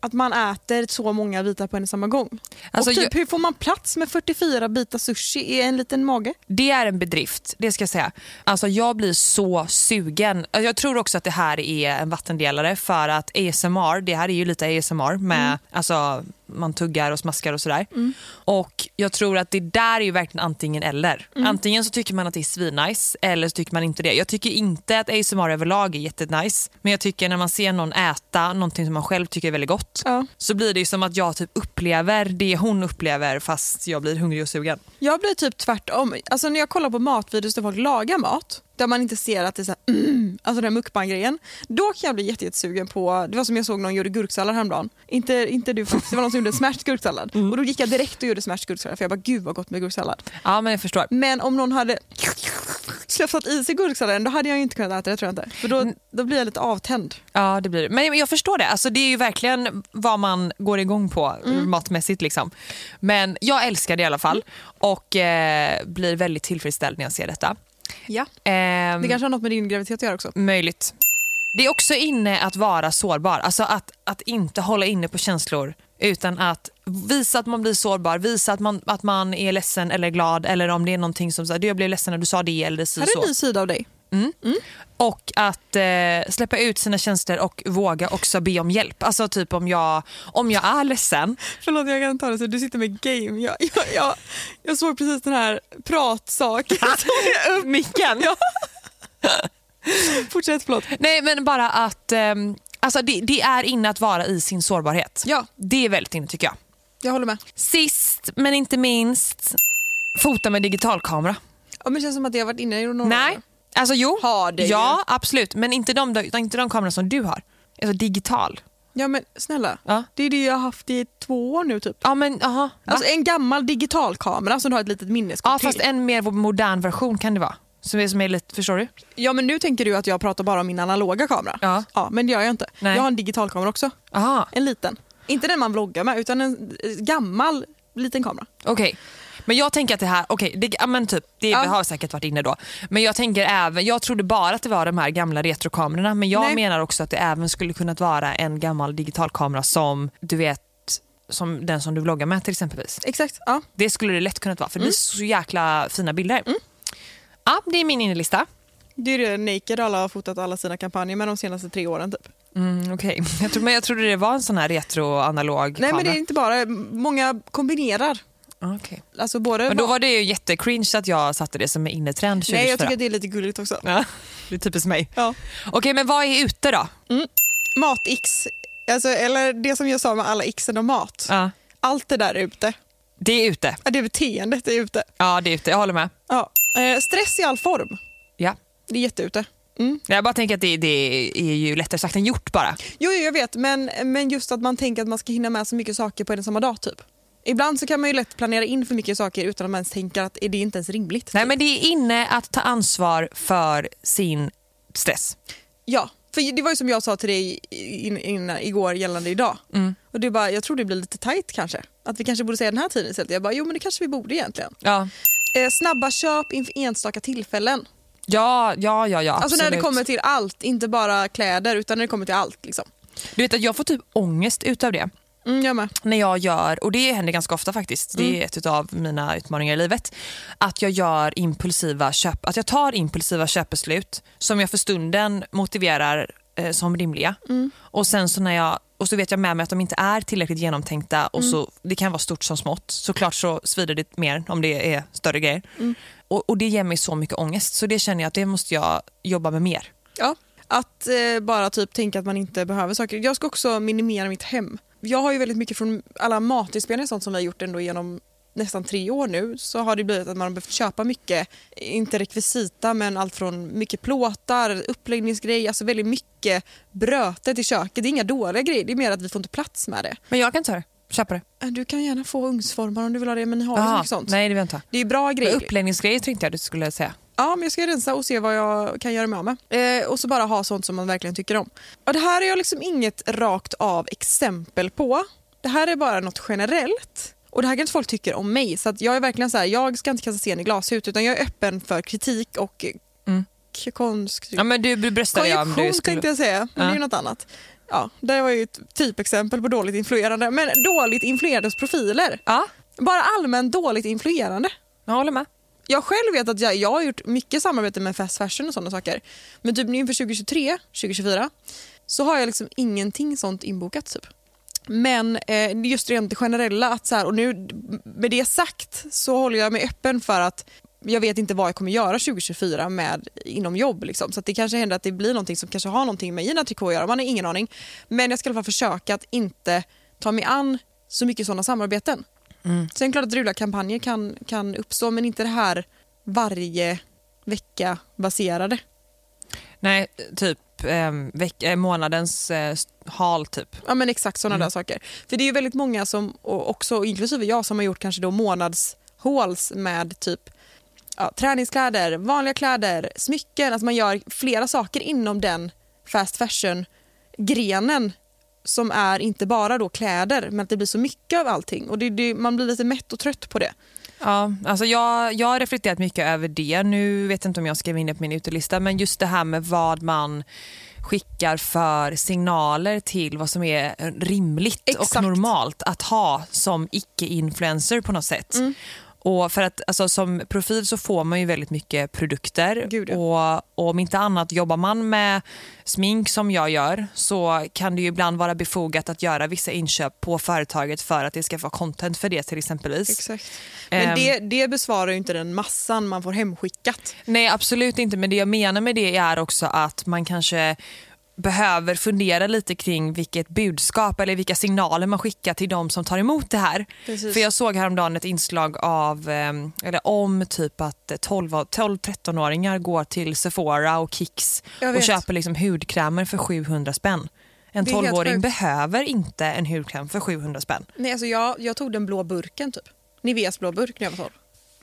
att man äter så många bitar på en och samma gång.
Alltså,
och typ,
jag-
Hur får man plats med 44 bitar sushi i en liten mage?
det är en bedrift, det ska jag säga. Alltså, jag blir så sugen. Alltså, Jag tror också att det här är en vattendelare för att ASMR, det här är ju lite ASMR med alltså, man tuggar och smaskar och sådär. Och jag tror att det där är ju verkligen antingen eller. Antingen så tycker man att det är svinnice eller så tycker man inte det. Jag tycker inte att ASMR överlag är jättenice men jag tycker när man ser någon äta någonting som man själv tycker är väldigt gott
Ja.
så blir det ju som att jag typ upplever det hon upplever fast jag blir hungrig och sugen.
Jag blir typ tvärtom. Alltså, när jag kollar på matvideos där folk lagar mat där man inte ser att det är så här, mm, alltså den här mukbang-grejen. Då kan jag bli jätte- jättesugen på, det var som jag såg någon gjorde gurksallad häromdagen. Inte, inte du faktiskt, det var någon som gjorde en smärt gurksallad. Och då gick jag direkt och gjorde smärt gurksallad för jag bara gud vad gott med gurksallad.
Ja, men jag förstår.
Men om någon hade slösat i sig gurksalladen då hade jag ju inte kunnat äta det tror jag inte. För då, då blir jag lite avtänd.
Ja, det blir det. Men jag förstår det. Alltså, det är ju verkligen vad man går igång på
Mm.
matmässigt. Liksom. Men jag älskar det i alla fall och eh, blir väldigt tillfredsställd när jag ser detta.
Ja. Mm.
Ehm,
Det kanske har något med din graviditet att göra också.
Möjligt. Det är också inne att vara sårbar, alltså att, att inte hålla inne på känslor utan att visa att man blir sårbar, visa att man, att man är ledsen eller glad eller om det är någonting som säger jag blev ledsen när du sa det eller så.
Här är en ny sida av dig.
Och att eh, släppa ut sina känslor och våga också be om hjälp. Alltså typ om jag, om jag är ledsen.
Förlåt jag kan ta det så du sitter med game. Jag, jag, jag, jag såg precis den här pratsaken.
Micken! Ja.
Fortsätt förlåt.
Nej men bara att ehm, alltså det, det är inne att vara i sin sårbarhet.
Ja.
Det är väldigt inne tycker jag.
Jag håller med.
Sist men inte minst, fota med digitalkamera.
Ja, men det känns som att jag har varit inne i några
Nej,
år.
alltså jo.
Mm. Har det ju.
ja, absolut. Men inte de, inte de kameror som du har. Alltså digital.
Ja men snälla,
Ja.
det är det jag har haft i två år nu typ.
Ja, men aha.
Alltså en gammal digitalkamera som du har ett litet minneskort
ja, fast
till.
en mer modern version kan det vara. Som är, som är lite, förstår du?
Ja men nu tänker du att jag pratar bara om min analoga kamera.
Ja.
men det gör jag inte.
Nej.
Jag har en digitalkamera också.
Aha,
En liten. Inte den man vloggar med utan en eh, gammal liten kamera.
okej. Men jag tänker att det här, okej, det, ja, men typ, det
Ja.
har säkert varit inne då. Men jag tänker även, jag trodde bara att det var de här gamla retrokamerorna. Men jag
Nej.
menar också att det även skulle kunnat vara en gammal digitalkamera som du vet, som den som du vloggar med till exempelvis.
Exakt. Ja.
Det skulle det lätt kunnat vara
Mm.
för det blir så jäkla fina bilder. Ja, det är min innerlista.
Det är det Naked alla har fotat alla sina kampanjer med de senaste tre åren typ.
Mm, okay. jag, tro, men jag trodde det var en sån här retroanalog
Nej men det
kamera.
är inte bara, många kombinerar.
Ah, okej.
Alltså både
Men då var det ju jättecringe att jag satte det som en innetrend 2024.
Nej jag tycker att det är lite gulligt också.
ja, det är typiskt mig.
Ja.
Okej, men vad är ute då?
Mat-X, alltså, eller det som jag sa med alla Xen och mat.
Ja.
Allt det där är ute.
Det är ute.
Ja, Det beteendet är ute.
Ja, det är ute. Jag håller med.
Ja. Eh, stress i all form,
Ja.
det är jätteute. Mm.
Jag bara tänker att det, det är ju lättare sagt än gjort bara.
Jo, jo, jag vet, men, men just att man tänker att man ska hinna med så mycket saker på en och samma dag. typ. Ibland så kan man ju lätt planera in för mycket saker utan att man ens tänker att är det inte ens rimligt.
Nej, men det är inne att ta ansvar för sin stress.
Ja, för det var ju som jag sa till dig in, innan- igår gällande idag. Och det är bara, Jag tror det blir lite tajt kanske. Att vi kanske borde säga den här tiden istället. Jag bara, jo men det kanske vi borde egentligen.
Ja,
Eh, snabba köp inför enstaka tillfällen.
ja, ja, ja. ja
Alltså när det
absolut.
kommer till allt, inte bara kläder utan när det kommer till allt. Liksom.
Du vet att jag får typ ångest utav det.
Mm, jag med.
När jag gör, och det händer ganska ofta faktiskt, det är ett av mina utmaningar i livet. Att jag gör impulsiva köp, att jag tar impulsiva köpbeslut som jag för stunden motiverar eh, som rimliga. Och sen så när jag och så vet jag med mig att de inte är tillräckligt genomtänkta och så, det kan vara stort som smått. Såklart så svider det mer om det är större grejer. Och, och det ger mig så mycket ångest så det känner jag att det måste jag jobba med mer.
Ja. Att eh, bara typ tänka att man inte behöver saker. Jag ska också minimera mitt hem. Jag har ju väldigt mycket från alla matinspelningar och sånt som vi har gjort ändå genom nästan tre år nu så har det blivit att man har behövt köpa mycket, inte rekvisita men allt från mycket plåtar, uppläggningsgrejer, alltså väldigt mycket brötet i köket. Det är inga dåliga grejer, det är mer att vi får inte plats med det.
Men jag kan ta det, köpa det.
Eh, Du kan gärna få ugnsformar om du vill ha det men ni har ju så
Aha,
mycket sånt.
Ah, Nej det vill jag inte ha.
Det är ju bra
Men
grejer.
Uppläggningsgrejer tänkte jag du skulle säga.
Ja, men jag ska rensa och se vad jag kan göra mig av med. Eh, och så bara ha sånt som man verkligen tycker om. Och det här är jag liksom inget rakt av exempel på. Det här är bara något generellt. Och det här kanske folk tycker om mig. Så att jag är verkligen så här, jag ska inte kasta sten i glashus utan jag är öppen för kritik och
Mm.
k- konst...
Ja, men du bröstade jag om
Konjunktion
du skulle...
tänkte jag säga, men det är ju
Ja.
något annat. Ja, det var ju ett typexempel på dåligt influerande. Men dåligt influerandes profiler.
Ja,
Bara allmänt dåligt influerande.
jag håller med.
Jag själv vet att jag, jag har gjort mycket samarbete med fast fashion och sådana saker. Men typ nu inför 2023, 2024 så har jag liksom ingenting sånt inbokat. Typ. Men eh, just rent det generella, att så här, och nu med det sagt så håller jag mig öppen för att jag vet inte vad jag kommer göra 2024 med, inom jobb. Liksom. Så att det kanske händer att det blir någonting som kanske har någonting med mina trikåer att göra. Man har ingen aning. Men jag ska i alla fall försöka att inte ta mig an så mycket sådana samarbeten. Sen är det klart att roliga kampanjer kan, kan uppstå men inte det här varje vecka baserade.
Nej, typ eh, veck- eh, månadens eh, st- hal typ.
Ja men exakt sådana där saker. För det är ju väldigt många som, och också inklusive jag, som har gjort kanske då månadshauls med typ ja, träningskläder, vanliga kläder, smycken. Alltså man gör flera saker inom den fast fashion-grenen som är inte bara då kläder men att det blir så mycket av allting och det, det, man blir lite mätt och trött på det.
Ja, alltså jag, jag har reflekterat mycket över det. Nu vet jag inte om jag skrev in det på min utelista men just det här med vad man skickar för signaler till vad som är rimligt och
Exakt.
normalt att ha som icke-influencer på något sätt.
Mm.
Och för att alltså, Som profil så får man ju väldigt mycket produkter
Gud, ja.
och, och om inte annat jobbar man med smink som jag gör så kan det ju ibland vara befogat att göra vissa inköp på företaget för att det ska få content för det till exempelvis.
Exakt. Men
Ehm.
det, det besvarar ju inte den massan man får hemskickat.
Nej, absolut inte. Men det jag menar med det är också att man kanske behöver fundera lite kring vilket budskap eller vilka signaler man skickar till de som tar emot det här.
Precis.
För jag såg häromdagen ett inslag av, eh, eller om typ att 12 av- 12-13-åringar går till Sephora och Kicks
Jag
och
vet.
köper liksom hudkrämer för 700 spänn. En
Det är helt
12-åring
sjukt.
behöver inte en hudkräm för 700 spänn.
Nej, alltså jag, jag tog den blå burken typ. Niveas blå burk när jag var 12.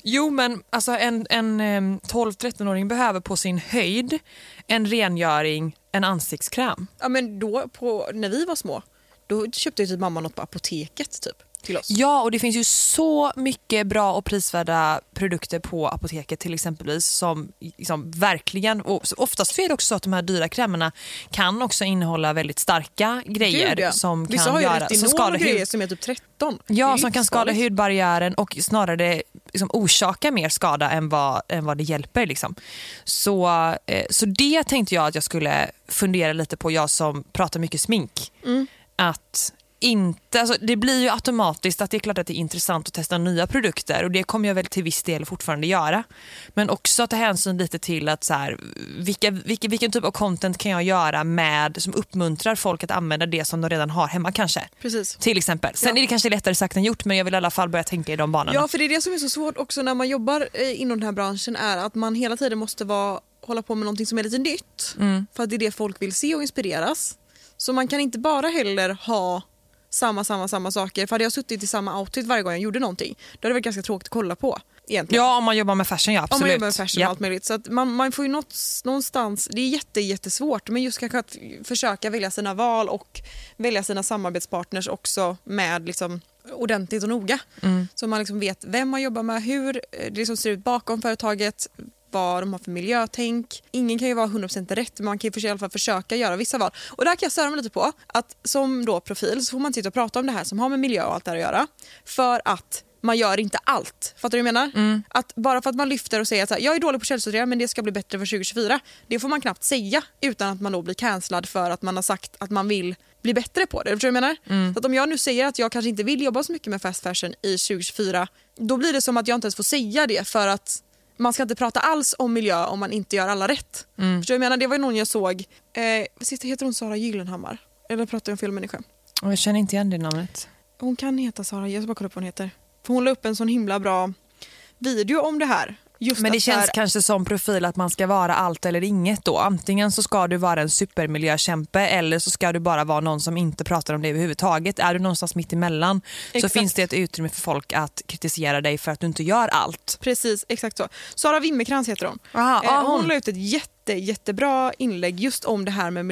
Jo, men alltså en, en em, 12-13-åring behöver på sin höjd en rengöring, en ansiktskräm.
Ja, men då på, när vi var små, då köpte ju typ mamma något på apoteket typ till oss.
Ja, och det finns ju så mycket bra och prisvärda produkter på apoteket till exempelvis som liksom, verkligen, och så oftast så är det också så att de här dyra krämerna kan också innehålla väldigt starka grejer
Gud, ja.
som
Vissa
kan
har ju
göra, som
retinol och
skadar
grejer
hud.
som är typ 13. Det är
Ja,
ju
som kan skada
livsfarligt.
hudbarriären och snarare liksom orsaka mer skada än vad, än vad det hjälper. Liksom. Så, eh, så det tänkte jag att jag skulle fundera lite på, jag som pratar mycket smink.
Mm.
Att inte, alltså det blir ju automatiskt att det är klart att det är intressant att testa nya produkter och det kommer jag väl till viss del fortfarande göra. Men också ta hänsyn lite till att så här, vilka, vilka, vilken typ av content kan jag göra med som uppmuntrar folk att använda det som de redan har hemma kanske.
Precis.
Till exempel. Sen
Ja.
är det kanske lättare sagt än gjort men jag vill i alla fall börja tänka i de banorna.
Ja, för det är det som är så svårt också när man jobbar eh, inom den här branschen är att man hela tiden måste vara, hålla på med någonting som är lite nytt. För att det är det folk vill se och inspireras. Så man kan inte bara heller ha samma, samma, samma saker. För hade jag suttit i samma outfit varje gång jag gjorde någonting, då hade det varit ganska tråkigt att kolla på. Egentligen.
Ja, om man jobbar med fashion, ja absolut.
Om man jobbar med fashion
ja.
och allt möjligt. Så att man, man får ju något, någonstans, det är jätte, jättesvårt men just kanske att f- försöka välja sina val och välja sina samarbetspartners också med liksom ordentligt och noga.
Mm.
Så man liksom vet vem man jobbar med, hur eh, det liksom ser ut bakom företaget, vad de har för miljötänk. Ingen kan ju vara 100% rätt men man kan ju för- i alla fall försöka göra vissa val. Och där kan jag störa mig lite på att som då profil så får man sitta och prata om det här som har med miljö och allt det här att göra. För att man gör inte allt. Fattar du vad jag menar? Att bara för att man lyfter och säger att så här, jag är dålig på källsortering men det ska bli bättre för 2024. Det får man knappt säga utan att man då blir cancellad för att man har sagt att man vill bli bättre på det. Förstår du vad jag menar? Så att om jag nu säger att jag kanske inte vill jobba så mycket med fast fashion i 2024 då blir det som att jag inte ens får säga det för att man ska inte prata alls om miljö om man inte gör alla rätt. Förstår du vad jag menar? Det var ju någon jag såg, eh, vad heter- heter hon Sara Gyllenhammar? Eller pratar jag om fel människa?
Och Jag känner inte igen det namnet.
Hon kan heta Sara, jag ska bara kolla upp vad hon heter. För hon la upp en sån himla bra video om det här. Just
Men det
att så
känns
här-
kanske som profil att man ska vara allt eller inget då. Antingen så ska du vara en supermiljökämpe eller så ska du bara vara någon som inte pratar om det överhuvudtaget. Är du någonstans mitt emellan
Exakt.
så finns det ett utrymme för folk att kritisera dig för att du inte gör allt.
Precis, exakt så. Sara Wimmerkrans heter hon.
Aha,
eh,
ah,
hon.
hon.
la ut ett jätte, jättebra inlägg just om det här med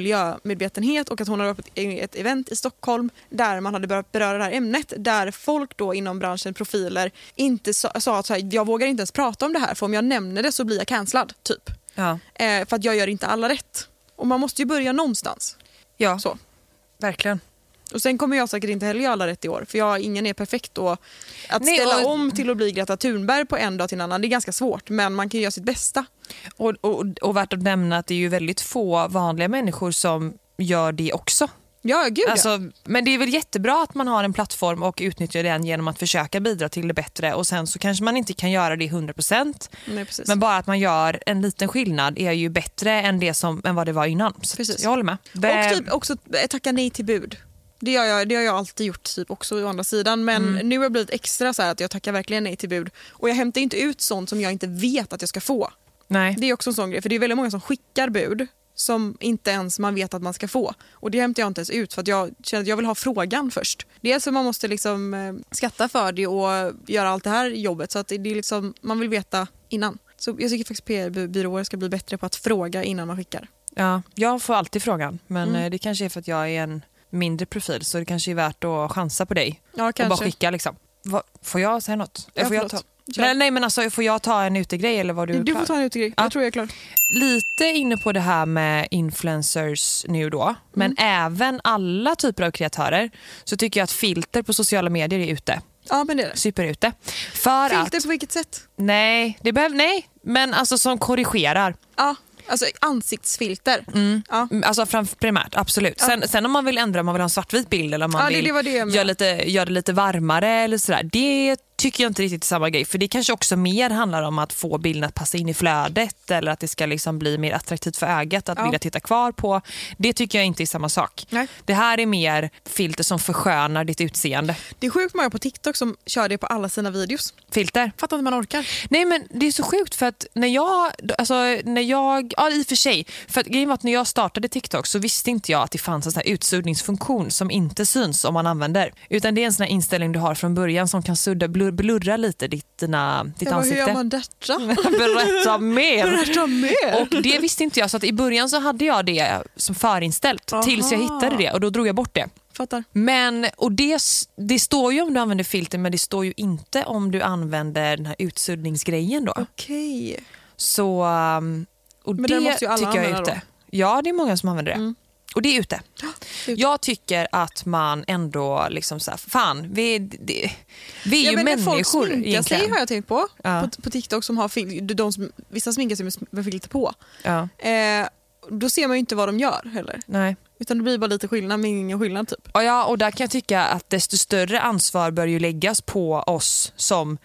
miljömedvetenhet och att hon har varit på ett, e- ett event i Stockholm där man hade börjat beröra det här ämnet där folk då inom branschen, profiler, inte sa, sa att så här, jag vågar inte ens prata om det här för om jag nämner det så blir jag cancellad, typ.
Ja.
Eh, för att jag gör inte alla rätt. Och man måste ju börja någonstans.
Ja,
Så.
verkligen.
Och Sen kommer jag säkert inte heller göra alla rätt i år för jag, ingen är perfekt. Och att
Nej,
ställa
och-
om till att bli Greta Thunberg på en dag till en annan det är ganska svårt men man kan ju göra sitt bästa.
Och, och, och värt att nämna att det är ju väldigt få vanliga människor som gör det också.
Ja, gud ja.
Alltså, men det är väl jättebra att man har en plattform och utnyttjar den genom att försöka bidra till det bättre och sen så kanske man inte kan göra det 100%
Nej, precis.
men bara att man gör en liten skillnad är ju bättre än, det som, än vad det var innan. Så
Precis.
jag håller med. Det-
Och typ också eh, tacka nej till bud. Det har, jag, det har jag alltid gjort typ också å andra sidan men
Mm.
nu har jag blivit extra så här att jag tackar verkligen nej till bud och jag hämtar inte ut sånt som jag inte vet att jag ska få.
Nej.
Det är också en sån grej, för det är väldigt många som skickar bud som inte ens man vet att man ska få. Och det hämtar jag inte ens ut för att jag känner att jag vill ha frågan först. Dels för man måste liksom eh, skatta för det och göra allt det här jobbet så att det är liksom, man vill veta innan. Så jag tycker faktiskt PR-byråer ska bli bättre på att fråga innan man skickar.
Ja, jag får alltid frågan, men
Mm.
eh, det kanske är för att jag är en mindre profil så det kanske är värt att chansa på dig
Ja,
och bara
kanske.
skicka. Liksom. Va, får jag säga något?
Ja,
får jag ta?
förlåt. Kör.
Nej, nej, men alltså, får jag ta en utegrej eller vad du
Du
klar?
får ta en utegrej,
Ja.
jag tror jag är klar.
Lite inne på det här med influencers nu då, men även alla typer av kreatörer så tycker jag att filter på sociala medier är ute.
Ja men det är det.
Superute. För att...
Filter på vilket sätt?
Nej, det behöv, nej, men alltså som korrigerar.
Ja, alltså ansiktsfilter. Ja.
Mm, Alltså fram, primärt, absolut. Sen, sen om man vill ändra, om man vill ha en svartvit bild eller om man
Ja, det-
vill
det var det jag menade.
göra, lite, göra det lite varmare eller sådär. Det tycker jag inte riktigt är samma grej. För det kanske också mer handlar om att få bilden att passa in i flödet eller att det ska liksom bli mer attraktivt för ögat att
Ja.
vilja titta kvar på. Det tycker jag inte är samma sak.
Nej.
Det här är mer filter som förskönar ditt utseende.
Det är sjukt många på TikTok som kör det på alla sina videos.
Filter.
Fattar inte man orkar.
Nej men det är så sjukt för att när jag, alltså när jag, ja i och för sig, för att grejen var att när jag startade TikTok så visste inte jag att det fanns en sån här utsuddningsfunktion som inte syns om man använder. Utan det är en sån här inställning du har från början som kan sudda, blur, blurra lite ditt, dina, ditt
Jag bara, hur
ansikte.
gör man detta?
Berätta mer!
Berätta mer!
Och det visste inte jag så att i början så hade jag det som förinställt
Aha.
tills jag hittade det och då drog jag bort det.
Fattar.
Men, och det, s- det står ju om du använder filter men det står ju inte om du använder den här utsuddningsgrejen då.
Okej.
Så, um, och
Men
det
den måste ju alla
tycker jag är
använda
ute.
då. Mm.
Ja, det är många som använder det. Och det är ute.
det är ute.
Jag tycker att man ändå liksom så här, fan, vi, det, vi är
Ja,
ju
men när folk
människor
sminkar sig
egentligen.
har jag tänkt på.
Ja.
På, på TikTok som har fil- de som, vissa sminkar sig med, sm- med filter på.
Ja,
Eh, då ser man ju inte vad de gör heller.
nej.
Utan det blir bara lite skillnad men ingen skillnad typ.
Och ja, och där kan jag tycka att desto större ansvar bör ju läggas på oss som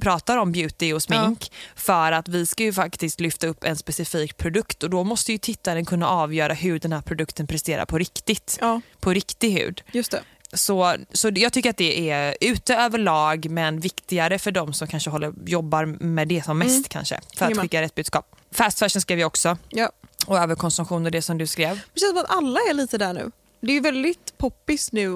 pratar om beauty och smink för att vi ska ju faktiskt lyfta upp en specifik produkt och då måste ju tittaren kunna avgöra hur den här produkten presterar på riktigt.
Ja.
På riktig hud.
Just det.
Så, så jag tycker att det är ute överlag men viktigare för de som kanske håller, jobbar med det som mest kanske för att
Jajamän.
skicka rätt budskap. Fast fashion skrev jag också
Ja.
och överkonsumtion och det som du skrev.
Det känns som att alla är lite där nu. Det är ju väldigt poppis nu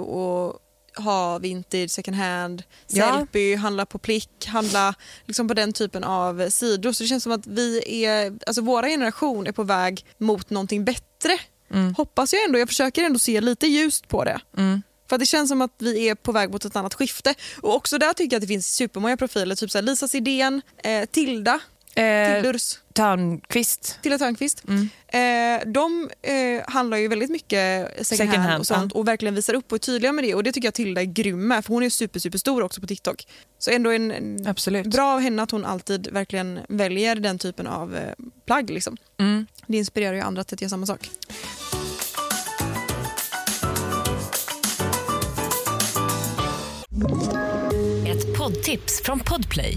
att ha vintage, second hand,
Ja.
selfie, handla på plick, handla liksom på den typen av sidor. Så det känns som att vi är, alltså våra generation är på väg mot någonting bättre.
Mm.
Hoppas jag ändå. Jag försöker ändå se lite ljust på det. För att det känns som att vi är på väg mot ett annat skifte. Och också där tycker jag att det finns supermånga profiler. Typ så här Lisa Sidén, eh, Tilda,
Eh,
Tildurs.
Törnqvist.
Tilda Törnqvist.
Mm.
Eh, de eh, handlar ju väldigt mycket second,
Second
hand,
hand,
och sånt och verkligen visar upp och är tydliga med det. Och det tycker jag Tilda är grym med för hon är super, super stor också på TikTok. Så ändå en, en
Absolut.
bra av henne att hon alltid verkligen väljer den typen av eh, plagg. Liksom.
Mm.
Det inspirerar ju andra till att göra samma sak.
Ett poddtips från Podplay.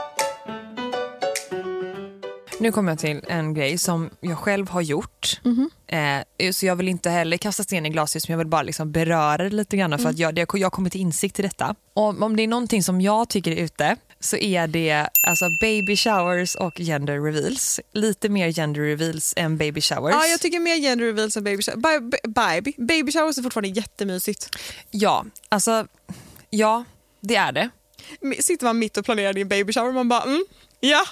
Nu kommer jag till en grej som jag själv har gjort.
Mhm.
Eh, så jag vill inte heller kasta sten i glashus men jag vill bara liksom beröra det lite grann
Mm.
för att jag, det, jag har kommit till insikt i detta. Om, om det är någonting som jag tycker är ute så är det alltså baby showers och gender reveals. Lite mer gender reveals än baby showers.
Ja, jag tycker mer gender reveals än baby showers. Bi- bi- Baby. baby showers är fortfarande jättemysigt.
ja, alltså, ja, det är det.
M- Sitter man mitt och planerar din baby shower man bara mm, ja.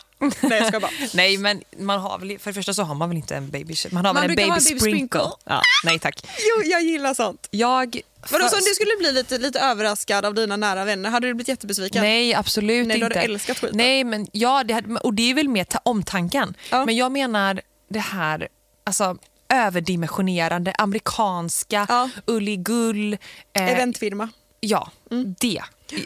Nej jag ska bara.
Nej, men man har väl, för det första så har man väl inte en baby shower. Man har
Man
väl en
brukar
baby,
ha en baby
sprinkle.
sprinkle.
Ja, nej tack.
Jo, jag gillar sånt.
Jag...
Vadå, så om du skulle bli lite, lite överraskad av dina nära vänner, hade du blivit jättebesviken?
Nej, absolut
Nej, du
inte.
hade älskat skiten.
Nej, men ja, det hade, och det är väl mer ta- omtanken.
Ja.
Men jag menar det här alltså, överdimensionerande amerikanska,
Ja.
ulligull. eh,
Eventfirma. Mm.
Ja, det.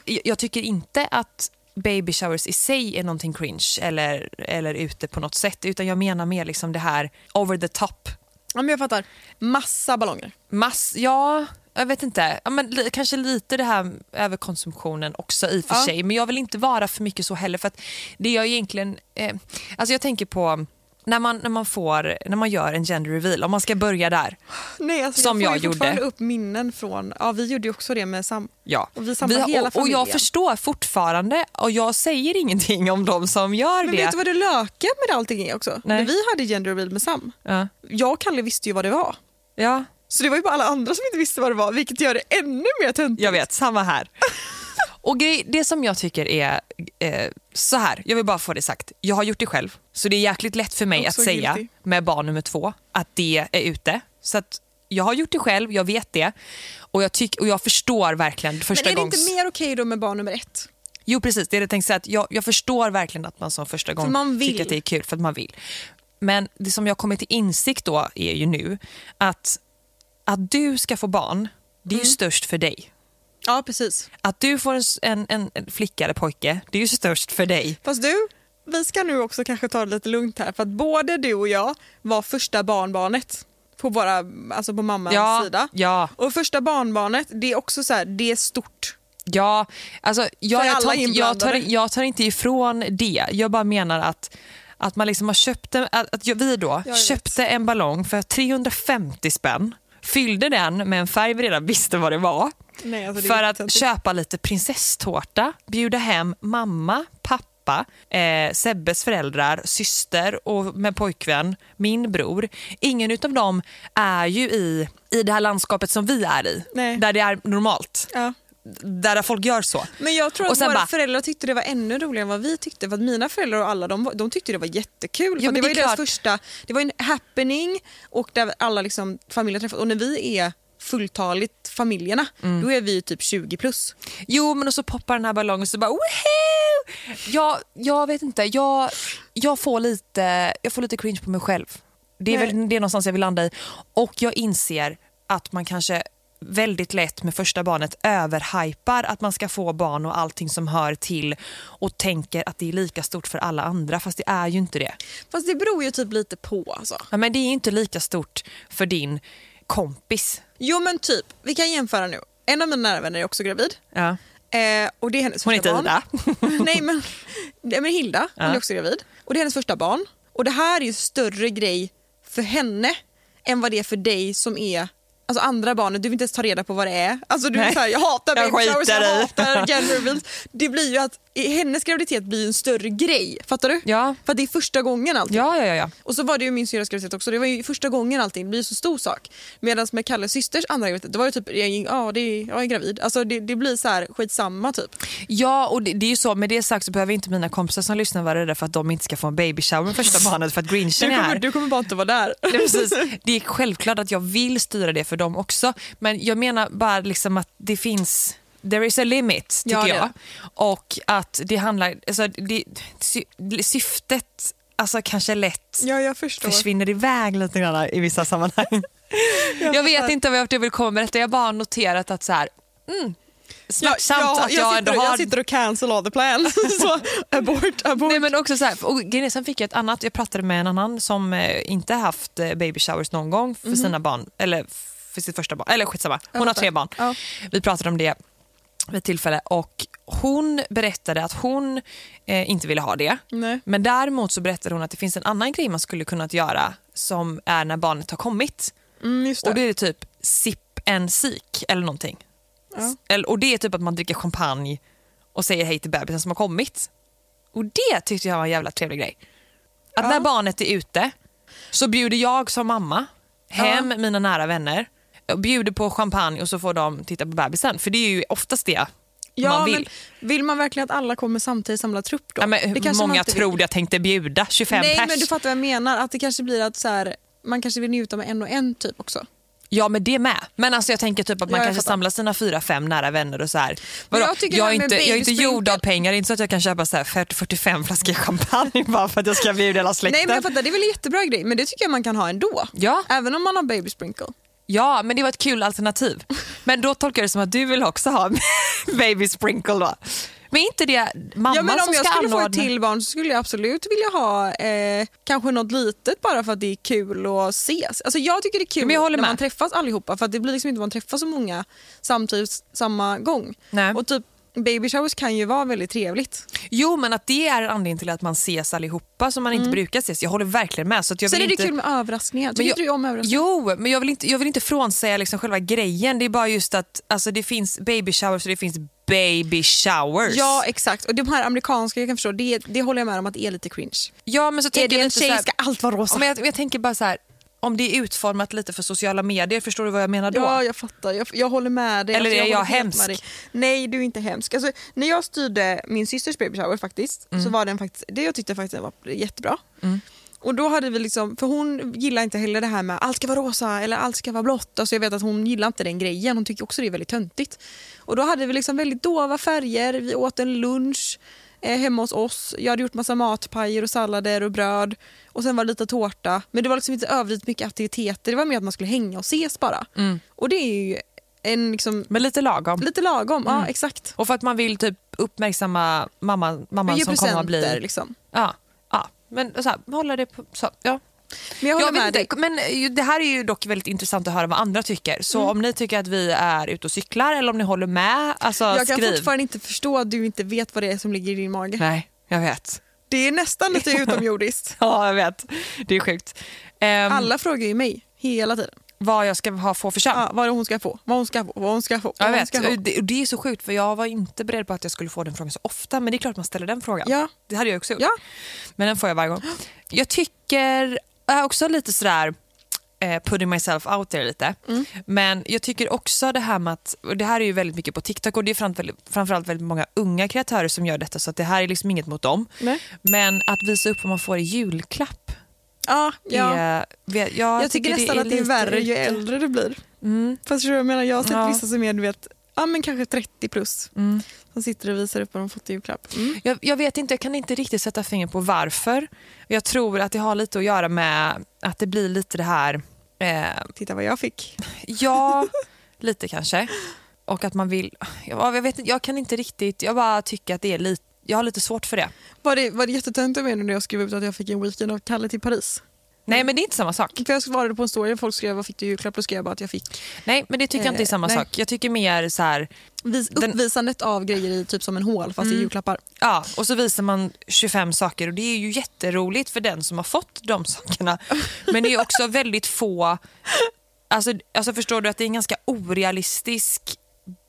Jag, jag tycker inte att baby showers i sig är någonting cringe eller, eller ute på något sätt utan jag menar mer liksom det här over the top.
Ja, men jag fattar. Massa ballonger.
Mass, ja, jag vet inte. Ja, men li, kanske lite det här överkonsumtionen också i och för
Ja.
sig men jag vill inte vara för mycket så heller för att det jag egentligen, eh, alltså jag tänker på när man, när, man får, när man gör en gender reveal, om man ska börja där.
Nej, alltså,
Som
jag får
jag
ju fortfarande
gjorde.
upp minnen från... Ja, vi gjorde ju också det med Sam.
Ja.
Och vi samlar
har-
hela
och, och
familjen.
jag förstår fortfarande och jag säger ingenting om de som gör
Men
det.
vet du vad det lökiga med allting är också? När vi hade gender reveal med Sam,
Ja.
jag och Kalle visste ju vad det var.
ja,
Så det var ju bara alla andra som inte visste vad det var, vilket gör det ännu mer töntigt.
jag vet. Samma här. Och grej, Det som jag tycker är eh, så här, jag vill bara få det sagt. Jag har gjort det själv, så det är jäkligt lätt för mig
Också
att säga
guilty.
med barn nummer två att det är ute. Så att jag har gjort det själv, jag vet det och jag, tyck, och jag förstår verkligen första
Men är det
gångs...
inte mer okej då med barn nummer ett?
Jo precis, det är det jag tänkte säga. Att jag, jag förstår verkligen att man som första gång
man vill.
tycker att det är kul för att man vill. Men det som jag kommit till insikt då är ju nu att, att du ska få barn, det är
Mm.
ju störst för dig.
Ja, precis.
Att du får en, s- en, en, en flicka eller pojke, det är ju störst för dig.
Fast du, vi ska nu också kanske ta det lite lugnt här för att både du och jag var första barnbarnet på, våra, alltså på mammans
Ja,
sida.
ja.
Och första barnbarnet, det är också så här, det är stort.
Ja, alltså, jag,
För
jag,
alla
tar, jag, tar,
inblandade.
jag tar inte ifrån det. Jag bara menar att, att man liksom har köpt en, att, att jag- vi då
vet.
köpte en ballong för 350 spänn, fyllde den med en färg vi redan visste vad det var.
Nej, alltså, det är
för att
jättetöntigt.
köpa lite prinsesstårta, bjuda hem mamma, pappa, eh, Sebbes föräldrar, syster och med pojkvän, min bror. Ingen utav dem är ju i, i det här landskapet som vi är i,
Nej.
där det är normalt
Ja.
där folk gör så.
Men jag tror
Och
att
sen
våra
bara-
föräldrar tyckte det var ännu roligare än vad vi tyckte. För att mina föräldrar och alla de, var- de tyckte det var jättekul. För
men
att det,
det
var ju
är
deras
klart.
första, det var ju en happening och där alla liksom, familjer träffas. Och när vi är fulltaligt familjerna,
Mm.
då är vi ju typ 20 plus.
Jo, men och så poppar den här ballongen och så bara woho! Jag, jag vet inte, jag, jag, får lite, jag får lite cringe på mig själv. Det är,
Nej.
väl, det är någonstans jag vill landa i. Och jag inser att man kanske väldigt lätt med första barnet överhypar att man ska få barn och allting som hör till och tänker att det är lika stort för alla andra fast det är ju inte det.
Fast det beror ju typ lite på alltså.
Ja, men det är ju inte lika stort för din kompis.
Jo men typ, vi kan jämföra nu. En av mina nära vänner är också gravid.
Ja.
Eh, och det är hennes
Hon
första
heter
barn. Nej men, nej, men Hilda, hon är också gravid. Och det är hennes första barn. Och det här är ju större grej för henne än vad det är för dig som är Alltså andra barnet, du vill inte ens ta reda på vad det är. Alltså du är
Nej.
såhär, jag hatar
Jag
baby showers,
skiter
jag
i.
hatar gender reveals. Det blir ju att hennes graviditet blir ju en större grej, fattar du?
Ja.
För att det är första gången allting.
Ja, ja, ja, ja.
Och så var det ju min syrras graviditet också, det var ju första gången allting, det blir ju så stor sak. Medan med Kalles systers andra graviditet, det var ju typ, ja det är, jag är gravid. Alltså det, det blir så här skitsamma typ.
Ja, och det, det är ju så. Med det sagt så behöver inte mina kompisar som lyssnar vara rädda för att de inte ska få en baby shower med första barnet för att grinchen är här.
bara inte vara där.
Nej, Precis. Det är självklart att jag vill styra det för dem också. Men jag menar bara liksom att det finns... There is a limit, tycker
Ja, det är
jag. Och att det handlar... Alltså, det, sy, syftet alltså, kanske lätt
Ja, jag förstår.
försvinner iväg lite grann i vissa sammanhang. jag vet inte vart jag vill komma med detta. Jag har bara noterat att så här... Mm, smärtsamt att jag,
sitter,
ändå
och-
har...
jag sitter och cancel all the plan. så abort, abort.
Nej, men också så här, och grejen är, sen fick jag ett annat, jag pratade med en annan som eh, inte haft eh, baby showers någon gång
Mhm.
för sina barn, eller för sitt första barn, eller skitsamma, hon har tre barn.
Ja.
Vi pratade om det vid ett tillfälle och hon berättade att hon eh, inte ville ha det.
Nej.
Men däremot så berättade hon att det finns en annan grej man skulle kunna göra som är när barnet har kommit.
Mm, just det.
Och då är det typ sip and seek eller någonting. S- Eller, och det är typ att man dricker champagne och säger hej till bebisen som har kommit. Och det tyckte jag var en jävla trevlig grej. Att när barnet är ute så bjuder jag som mamma hem mina nära vänner och bjuder på champagne och så får de titta på bebisen. För det är ju oftast det
ja,
man vill.
Men, vill man verkligen att alla kommer samtidigt samla trupp då?
ja, men,
det
hur
kanske man
många
inte vill.
tror jag tänkte bjuda? 25
Nej,
pers?
men du fattar vad jag menar. Att det kanske blir att så här, man kanske vill njuta med en och en typ också.
Ja, men det med. Men alltså jag tänker typ att man
Ja, jag
kanske
fattar.
samlar sina fyra, fem nära vänner och så här.
Men
Vadå?
jag tycker
jag,
det
är
här med
inte, jag är inte
babysprinkel-
gjord av pengar, det är inte så att jag kan köpa så här 40 45 flaskor champagne bara för att jag ska bjuda hela släkten.
Nej, men jag fattar, det är väl en jättebra grej, men det tycker jag man kan ha ändå.
Ja.
Även om man har baby sprinkle.
Ja, men det var ett kul alternativ. Men då tolkar jag det som att du vill också ha baby sprinkle då. Men är inte det mamman
Ja, men om
som
jag
ska
skulle få
anordna?
ett till barn så skulle jag absolut vilja ha eh, kanske något litet bara för att det är kul att ses. Alltså jag tycker det är kul
Men jag håller
när
med.
man träffas allihopa för att det blir liksom inte man träffar så många samtidigt samma gång.
Nej.
Och typ baby showers kan ju vara väldigt trevligt.
Jo, men att det är en anledning till att man ses allihopa som man inte brukar ses. Jag håller verkligen med. Så att jag
Mm. Sen
vill
är det
inte...
kul med överraskningar. Tycker
Men
inte du om överraskningar?
Jo, men jag vill inte, jag vill inte frånsäga liksom själva grejen. Det är bara just att alltså, det finns baby showers och det finns baby showers.
Ja exakt, och de här amerikanska jag kan förstå, det, det håller jag med om att det är lite cringe.
ja men så
Är
tänker
det
jag
en
lite
tjej
så här,
ska allt vara rosa.
men jag, jag tänker bara så här, om det är utformat lite för sociala medier, förstår du vad jag menar då?
Ja, jag fattar. Jag, jag håller med dig.
Eller är jag
håller helt
hemsk?
med dig. Nej, du är inte hemsk. Alltså, när jag styrde min systers baby shower faktiskt, så
Mm.
var den faktiskt, det jag tyckte faktiskt den var jättebra. Och då hade vi liksom, för hon gillar inte heller det här med allt ska vara rosa eller allt ska vara blått. Alltså jag vet att hon gillar inte den grejen, hon tycker också det är väldigt töntigt. Och då hade vi liksom väldigt dova färger, vi åt en lunch eh, hemma hos oss. Jag hade gjort massa matpajer och sallader och bröd. Och sen var det lite tårta. Men det var liksom inte överdrivet mycket aktiviteter, det var mer att man skulle hänga och ses bara.
Mm.
Och det är ju en liksom,
Men lite lagom.
lite lagom,
Mm.
ja exakt.
Och för att man vill typ uppmärksamma mamman,
Vi
mamman
ger
som kommer att bli...
presenter liksom.
Ja, ja. Men så här, hålla det på... Så, ja.
Men jag håller
vet
med dig. Mm.
inte, men ju- det här är ju dock väldigt intressant att höra vad andra tycker. Så om ni tycker att vi är ute och cyklar eller om ni håller med, alltså
Jag kan
skriv.
fortfarande inte förstå att du inte vet vad det är som ligger i din mage.
Nej, jag vet.
Det är nästan lite utomjordiskt.
Ja, jag vet. Det är sjukt. Ehm,
Alla frågar ju mig hela tiden.
Vad jag ska ha få för kön.
Ja, vad hon ska få, vad hon ska få, vad hon ska få.
Ja,
vad
jag
hon
vet.
Ska få.
Och Det, och det är så sjukt för jag var inte beredd på att jag skulle få den frågan så ofta. Men det är klart man ställer den frågan.
Ja.
Det hade jag också gjort.
Ja.
Men den får jag varje gång. Jag tycker jag är också lite sådär eh, putting myself out there lite.
Mm.
Men jag tycker också det här med att, och det här är ju väldigt mycket på TikTok och det är framförallt, framförallt väldigt många unga kreatörer som gör detta så att det här är liksom inget mot dem.
Nej.
Men att visa upp vad man får i julklapp.
Ja, ja.
Är, jag,
jag tycker nästan att det är Mm.
lite
värre ju
ute.
äldre du blir. Fast förstår du vad jag menar, jag har sett
Ja.
vissa som är du vet, ja, men kanske 30 plus som sitter och visar upp vad de fått i julklapp. Mm.
Jag, jag vet inte, jag kan inte riktigt sätta fingret på varför. Jag tror att det har lite att göra med att det blir lite det här, eh,
Titta vad jag fick.
ja, lite kanske. Och att man vill, jag, jag vet inte, jag kan inte riktigt, jag bara tycker att det är lite, jag har lite svårt för det.
Var det, var det jättetöntigt av mig när jag skrev ut att jag fick en weekend av Kalle till Paris?
Nej men det är inte samma sak.
För jag svarade på en story och folk skrev vad fick du i julklapp? Då skrev jag bara att jag fick
Nej men det tycker jag inte är samma
Eh, nej.
sak. Jag tycker mer så här,
vis,
Den-
uppvisandet av grejer i typ som en hål fast i julklappar.
ja och så visar man 25 saker och det är ju jätteroligt för den som har fått de sakerna. Men det är också väldigt få, alltså, alltså förstår du att det är en ganska orealistisk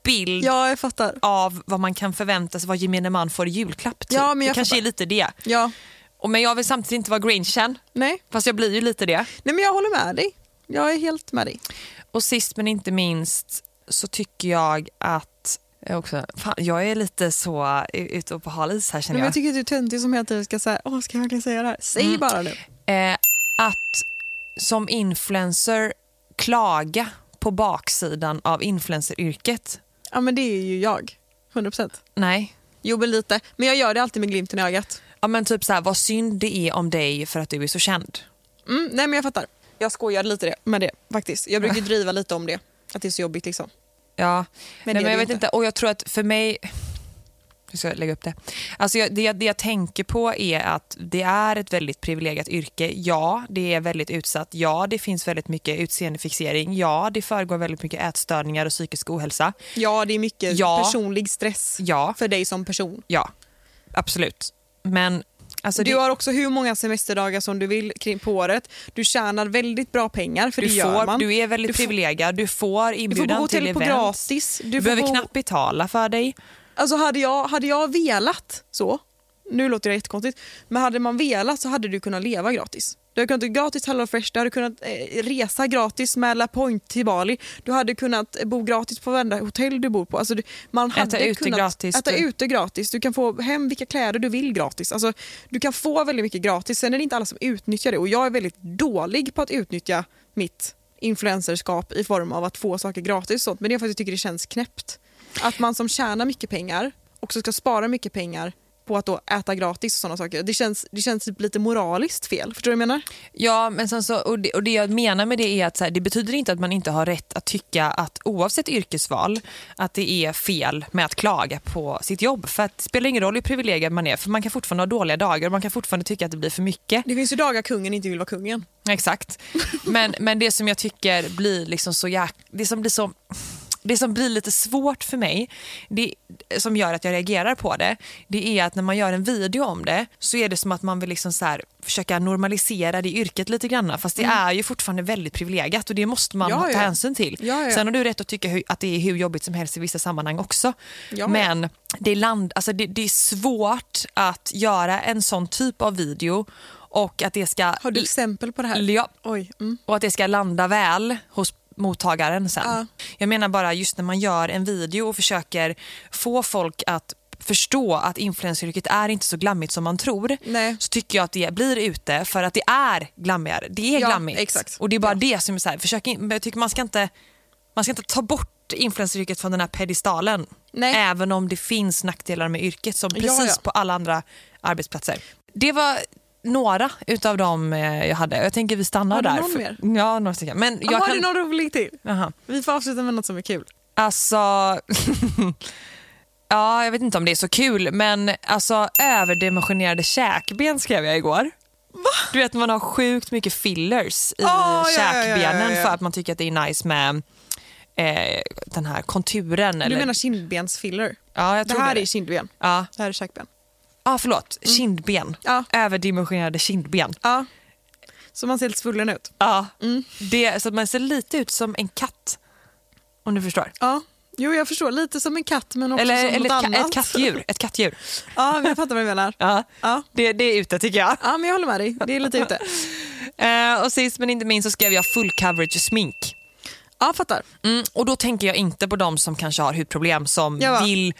bild
Ja, jag fattar.
av vad man kan förvänta sig vad gemene man får i julklapp. Typ.
Ja, men
det
jag
kanske
fattar.
är lite det.
Ja.
Och, men jag vill samtidigt inte vara grinchen,
Nej.
fast jag blir ju lite det.
Nej, men jag håller med dig. Jag är helt med dig.
Och sist men inte minst så tycker jag att jag, också, fan, jag är lite så eh, ute och på hal is här
Nej,
känner
men jag Mm.
jag.
tycker att du är töntig som hela tiden ska säga åh ska jag verkligen säga det här? Säg bara nu.
Eh, att som influencer klaga på baksidan av influenceryrket.
Ja men det är ju jag. 100%.
Nej.
Jo men lite. Men jag gör det alltid med glimten i ögat.
Ja, men typ så här, vad synd det är om dig för att du är så känd.
Mm, nej men jag fattar. Äh. Jag skojar lite det, med det faktiskt. Jag brukar ju driva lite om det. Att det är så jobbigt liksom.
Ja, Nej,
Men det är
men jag
det
vet
ju
inte.
inte.
Och jag tror att för mig... Hur ska jag lägga upp det? Alltså jag, det, jag, det jag tänker på är att det är ett väldigt privilegierat yrke. Ja, det är väldigt utsatt. Ja, det finns väldigt mycket utseendefixering. Ja, det föregår väldigt mycket ätstörningar och psykisk ohälsa.
Ja det är mycket
Ja.
personlig stress
Ja.
för dig som person.
Ja, absolut. Men alltså
du
det,
har också hur många semesterdagar som du vill kring på året. Du tjänar väldigt bra pengar för
du,
det gör
får,
man.
du är väldigt
Du får-
privilegierad. Du får
du får bo
inbjudan
på
till
hotell på
event.
gratis.
Du,
Du, får
behöver
bo...
knappt betala för dig.
Alltså hade jag, hade jag velat så, nu låter det jättekonstigt, men hade man velat så hade du kunnat leva gratis. Du hade kunnat gå gratis Hello Fresh, du hade kunnat eh, resa gratis med La Point till Bali. Du hade kunnat eh, bo gratis på varenda hotell du bor på. Alltså du, man
Äta
hade
ute
kunnat
gratis.
Äta
Du-
ute gratis. Du kan få hem vilka kläder du vill gratis. Alltså, du kan få väldigt mycket gratis. Sen är det inte alla som utnyttjar det och jag är väldigt dålig på att utnyttja mitt influencerskap i form av att få saker gratis och sånt. Men det är för att jag tycker det känns knäppt. Att man som tjänar mycket pengar också ska spara mycket pengar på att då äta gratis och sådana saker. Det känns, det känns typ lite moraliskt fel. Förstår du vad jag menar?
Ja, men sen så, och, det, och det jag menar med det är att så här, det betyder inte att man inte har rätt att tycka att oavsett yrkesval, att det är fel med att klaga på sitt jobb. För att det spelar ingen roll hur privilegierad man är, för man kan fortfarande ha dåliga dagar och man kan fortfarande tycka att det blir för mycket.
Det finns ju dagar kungen inte vill vara kungen.
Exakt. Men, men det som jag tycker blir liksom så jäk... Det som blir så... Det som blir lite svårt för mig, det, som gör att jag reagerar på det, det är att när man gör en video om det så är det som att man vill liksom så här, försöka normalisera det yrket lite grann. Fast det är ju fortfarande väldigt privilegierat och det måste man
Mm. Ja,
ta
ja.
hänsyn till.
Ja, ja.
Sen har du rätt att tycka hur, att det är hur jobbigt som helst i vissa sammanhang också.
Ja,
men det är, land, alltså det, det är svårt att göra en sån typ av video och att det ska...
Har du exempel på det här?
Ja,
Oj. Mm.
och att det ska landa väl hos mottagaren sen.
Ja.
Jag menar bara just när man gör en video och försöker få folk att förstå att influenceryrket är inte så glammigt som man tror
Nej.
så tycker jag att det blir ute för att det är glammigare. Det är
Ja,
glammigt.
exakt.
Och det är bara det som är så här, försök in, men jag tycker man ska inte, man ska inte ta bort influenceryrket från den här pedestalen.
Nej.
Även om det finns nackdelar med yrket som precis
ja.
på alla andra arbetsplatser. Det var några utav dem eh, jag hade. Jag tänker vi stannar
Har du
där.
någon
för-
mer?
Ja, några stycken. Men jag
Jag har
kan...
du någon rolig till?
Jaha.
Vi får avsluta med något som är kul.
Alltså... ja, jag vet inte om det är så kul, men alltså överdimensionerade käkben skrev jag igår. Du vet man har sjukt mycket fillers i
Ah, ja, ja, ja,
käkbenen
ja, ja.
för att man tycker att det är nice med eh, den här konturen.
Du
eller...
menar kindbensfiller?
Ja, jag
Det
tror
här
det.
är kindben.
Ja,
Det här är käkben.
ah, förlåt. Kindben.
Ja.
Överdimensionerade kindben.
Ja. Så man ser lite svullen ut.
Ja.
Mm.
Det, så att man ser lite ut som en katt. Om du förstår.
Ja. Jo, jag förstår. Lite som en katt men också
Eller,
som
eller
något
ett, ka-
annat.
ett kattdjur. Ett kattdjur.
Ja, men jag fattar vad du menar.
Ja.
Ja.
Det, det är ute tycker jag.
Ja, men jag håller med dig. Det är lite ute.
Eh, och sist men inte minst så skrev jag full coverage smink.
Ja, fattar.
Mm, och då tänker jag inte på de som kanske har hudproblem som
Jag bara-
vill...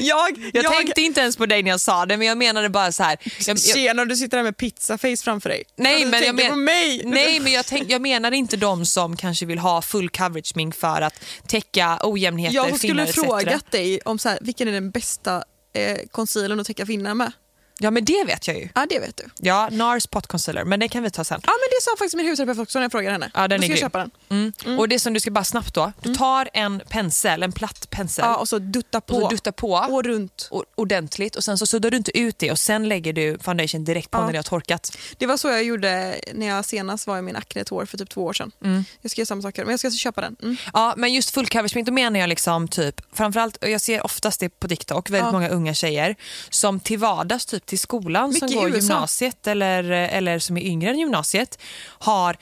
jag, jag
jag-
tänkte inte ens på dig när jag sa det men jag menade bara så här. Jag, jag,
Tjena, du sitter där med pizzaface framför dig.
nej,
du
men jag
tänkte
men,
på mig.
Nej men jag, tänk, jag menar inte de som kanske vill ha full coverage smink för att täcka ojämnheter,
Jag skulle
finnar etc.
frågat dig om så här, vilken är den bästa eh, concealern att täcka finnar med.
Ja men det vet jag ju.
Ja, det vet du.
Ja, NARS pot concealer men det kan vi ta sen.
Ja, men det sa faktiskt min husterapeut också när jag frågade henne.
Ja, den
Då
är
ska jag
grym.
köpa den.
Mm. Och det som du ska bara snabbt då, du tar en pensel, en platt pensel
Mm. Ja, och så dutta på.
och så duttar på
Och runt.
o- ordentligt och sen så suddar du inte ut det och sen lägger du foundation direkt på
Ja.
när det har torkat.
Det var så jag gjorde när jag senast var i min aknetår för typ två år sedan. Jag ska göra samma saker, men jag ska köpa den. Mm.
Ja, men just full coverage smink, då menar jag liksom typ, framförallt, och jag ser oftast det på TikTok, väldigt
Ja.
många unga tjejer som till vardags, typ till skolan
Mycket i
som går
USA.
gymnasiet eller, eller som är yngre än gymnasiet, har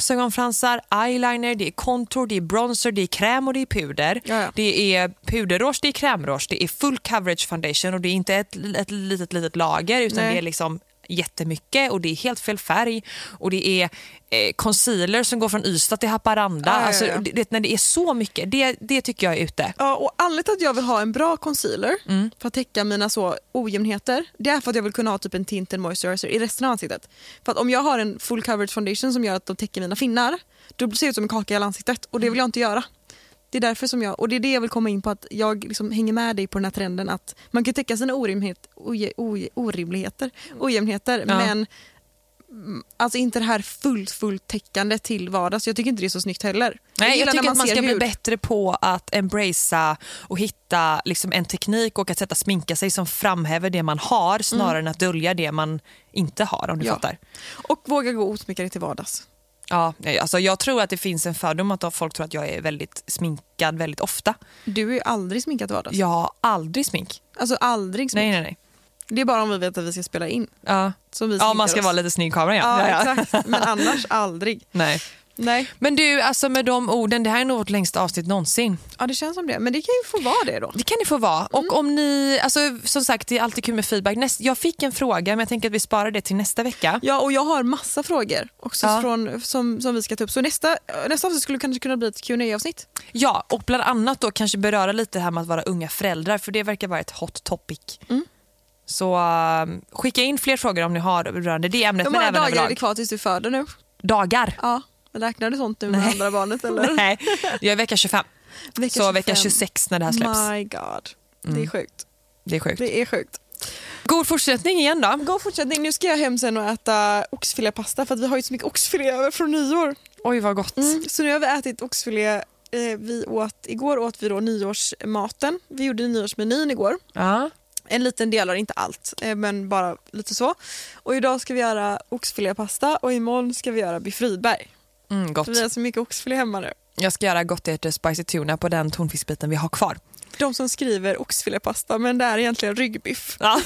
lösögonfransar, eyeliner, det är contour, det är bronzer, det är kräm och det är puder.
Ja, ja.
Det är puderrouge, det är krämrouge, det är full coverage foundation och det är inte ett, ett litet, litet lager utan
Nej.
det är liksom jättemycket och det är helt fel färg och det är eh, concealer som går från Ystad till Haparanda.
Ja, ja, ja.
Alltså, det, det, när det är så mycket, det, det tycker jag är ute.
Ja, och anledningen till att jag vill ha en bra concealer
Mm.
för att täcka mina så ojämnheter det är för att jag vill kunna ha typ en tint and moisturizer i resten av ansiktet. För att om jag har en full coverage foundation som gör att de täcker mina finnar då ser det ut som en kaka i hela ansiktet och det vill jag inte göra. Det är därför som jag, och det är det jag vill komma in på att jag liksom hänger med dig på den här trenden att man kan täcka sina orimlighet, oje, oje, orimligheter, ojämnheter
Ja.
men mm, Alltså inte det här fullt, fullt täckande till vardags. Jag tycker inte det är så snyggt heller.
Nej,
gillar
jag
när
tycker att man
ser
ska bli
hud.
bättre på att embracea och hitta liksom, en teknik och ett sätt att sminka sig som framhäver det man har snarare än att dölja det man inte har om du
Mm. Ja.
fattar.
Och våga gå osminkade till vardags.
Ja, nej, alltså, jag tror att det finns en fördom att folk tror att jag är väldigt sminkad väldigt ofta.
Du är ju aldrig sminkad till vardags.
Jag har aldrig smink.
Alltså aldrig smink.
Nej, nej, nej.
Det är bara om vi vet att vi ska spela in.
Ja.
Som vi
Ja,
sminkar
man ska
oss.
vara lite snygg i kameran. Ja.
Ja,
Ja, ja.
exakt. Men annars aldrig.
Nej.
Nej,
Men du, alltså med de orden, det här är nog vårt längsta avsnitt någonsin.
ja, det känns som det. Men det kan ju få vara det då.
Det kan ni få vara.
Mm.
Och om ni, alltså, som sagt, det är alltid kul med feedback. Näst, jag fick en fråga, men jag tänker att vi sparar det till nästa vecka.
Ja, och jag har massa frågor också
Ja.
från, som, som vi ska ta upp. Så nästa, nästa avsnitt skulle kanske kunna bli ett qa avsnitt
Ja, och bland annat då kanske beröra lite det här med att vara unga föräldrar, för det verkar vara ett hot topic.
Mm.
Så um, skicka in fler frågor om ni har rörande det ämnet,
Hur
men
många
även
dagar är det
överlag.
kvar tills du föder nu?
Dagar.
Ja, räknar du sånt nu med andra barnet eller?
Nej, jag är vecka 25.
Vecka
så vecka
25.
26 när det här släpps.
Mm. My god, det är sjukt.
Det är sjukt.
Det är sjukt.
God fortsättning igen då.
God fortsättning. Nu ska jag hem sen och äta oxfilépasta för att vi har ju så mycket oxfilé över från nyår.
Oj, vad gott.
Så nu har vi ätit oxfilé. Eh, vi åt, igår åt vi då nyårsmaten. Vi gjorde nyårsmenyn igår.
Ja.
En liten del av det, inte allt, eh, men bara lite så. Och idag ska vi göra oxfilépasta och imorgon ska vi göra biff Rydberg.
Mm, gott.
Så vi har så mycket oxfilé hemma nu.
Jag ska göra gottäter spicy tuna på den tonfiskbiten vi har kvar.
De som skriver oxfilépasta men det är egentligen ryggbiff.
Ja,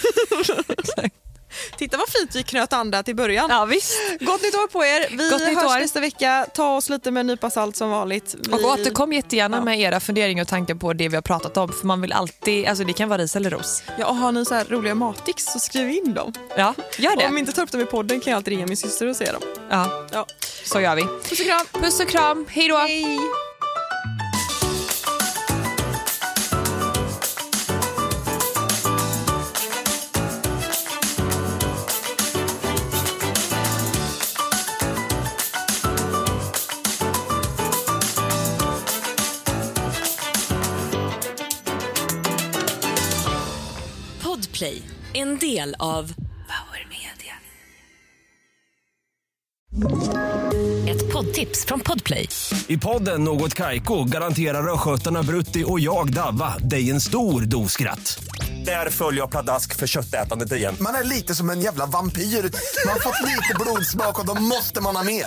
Titta vad fint vi knöt an där till början.
ja visst.
Gott nytt år på er. Vi
Gott nytt
hörs
år.
nästa vecka. Ta oss lite med en nypa salt som vanligt. Vi...
Och återkom jättegärna
Ja.
med era funderingar och tankar på det vi har pratat om. För man vill alltid, alltså det kan vara ris eller ros.
Ja, och har ni så här roliga mattics så skriv in dem.
Ja, gör
Om vi
det.
inte tar upp dem i podden kan jag alltid ringa min syster och se dem.
Ja,
Ja.
så gör vi.
Puss och kram.
Puss och kram, hej då!
Hej.
Podplay, en del av Power Media. Ett poddtips från Podplay.
I podden Något Kaiko garanterar östgötarna Brutti och jag, Davva, dig en stor dos skratt. Där följer jag pladask för köttätandet igen.
Man är lite som en jävla vampyr. Man har fått lite blodsmak och då måste man ha mer.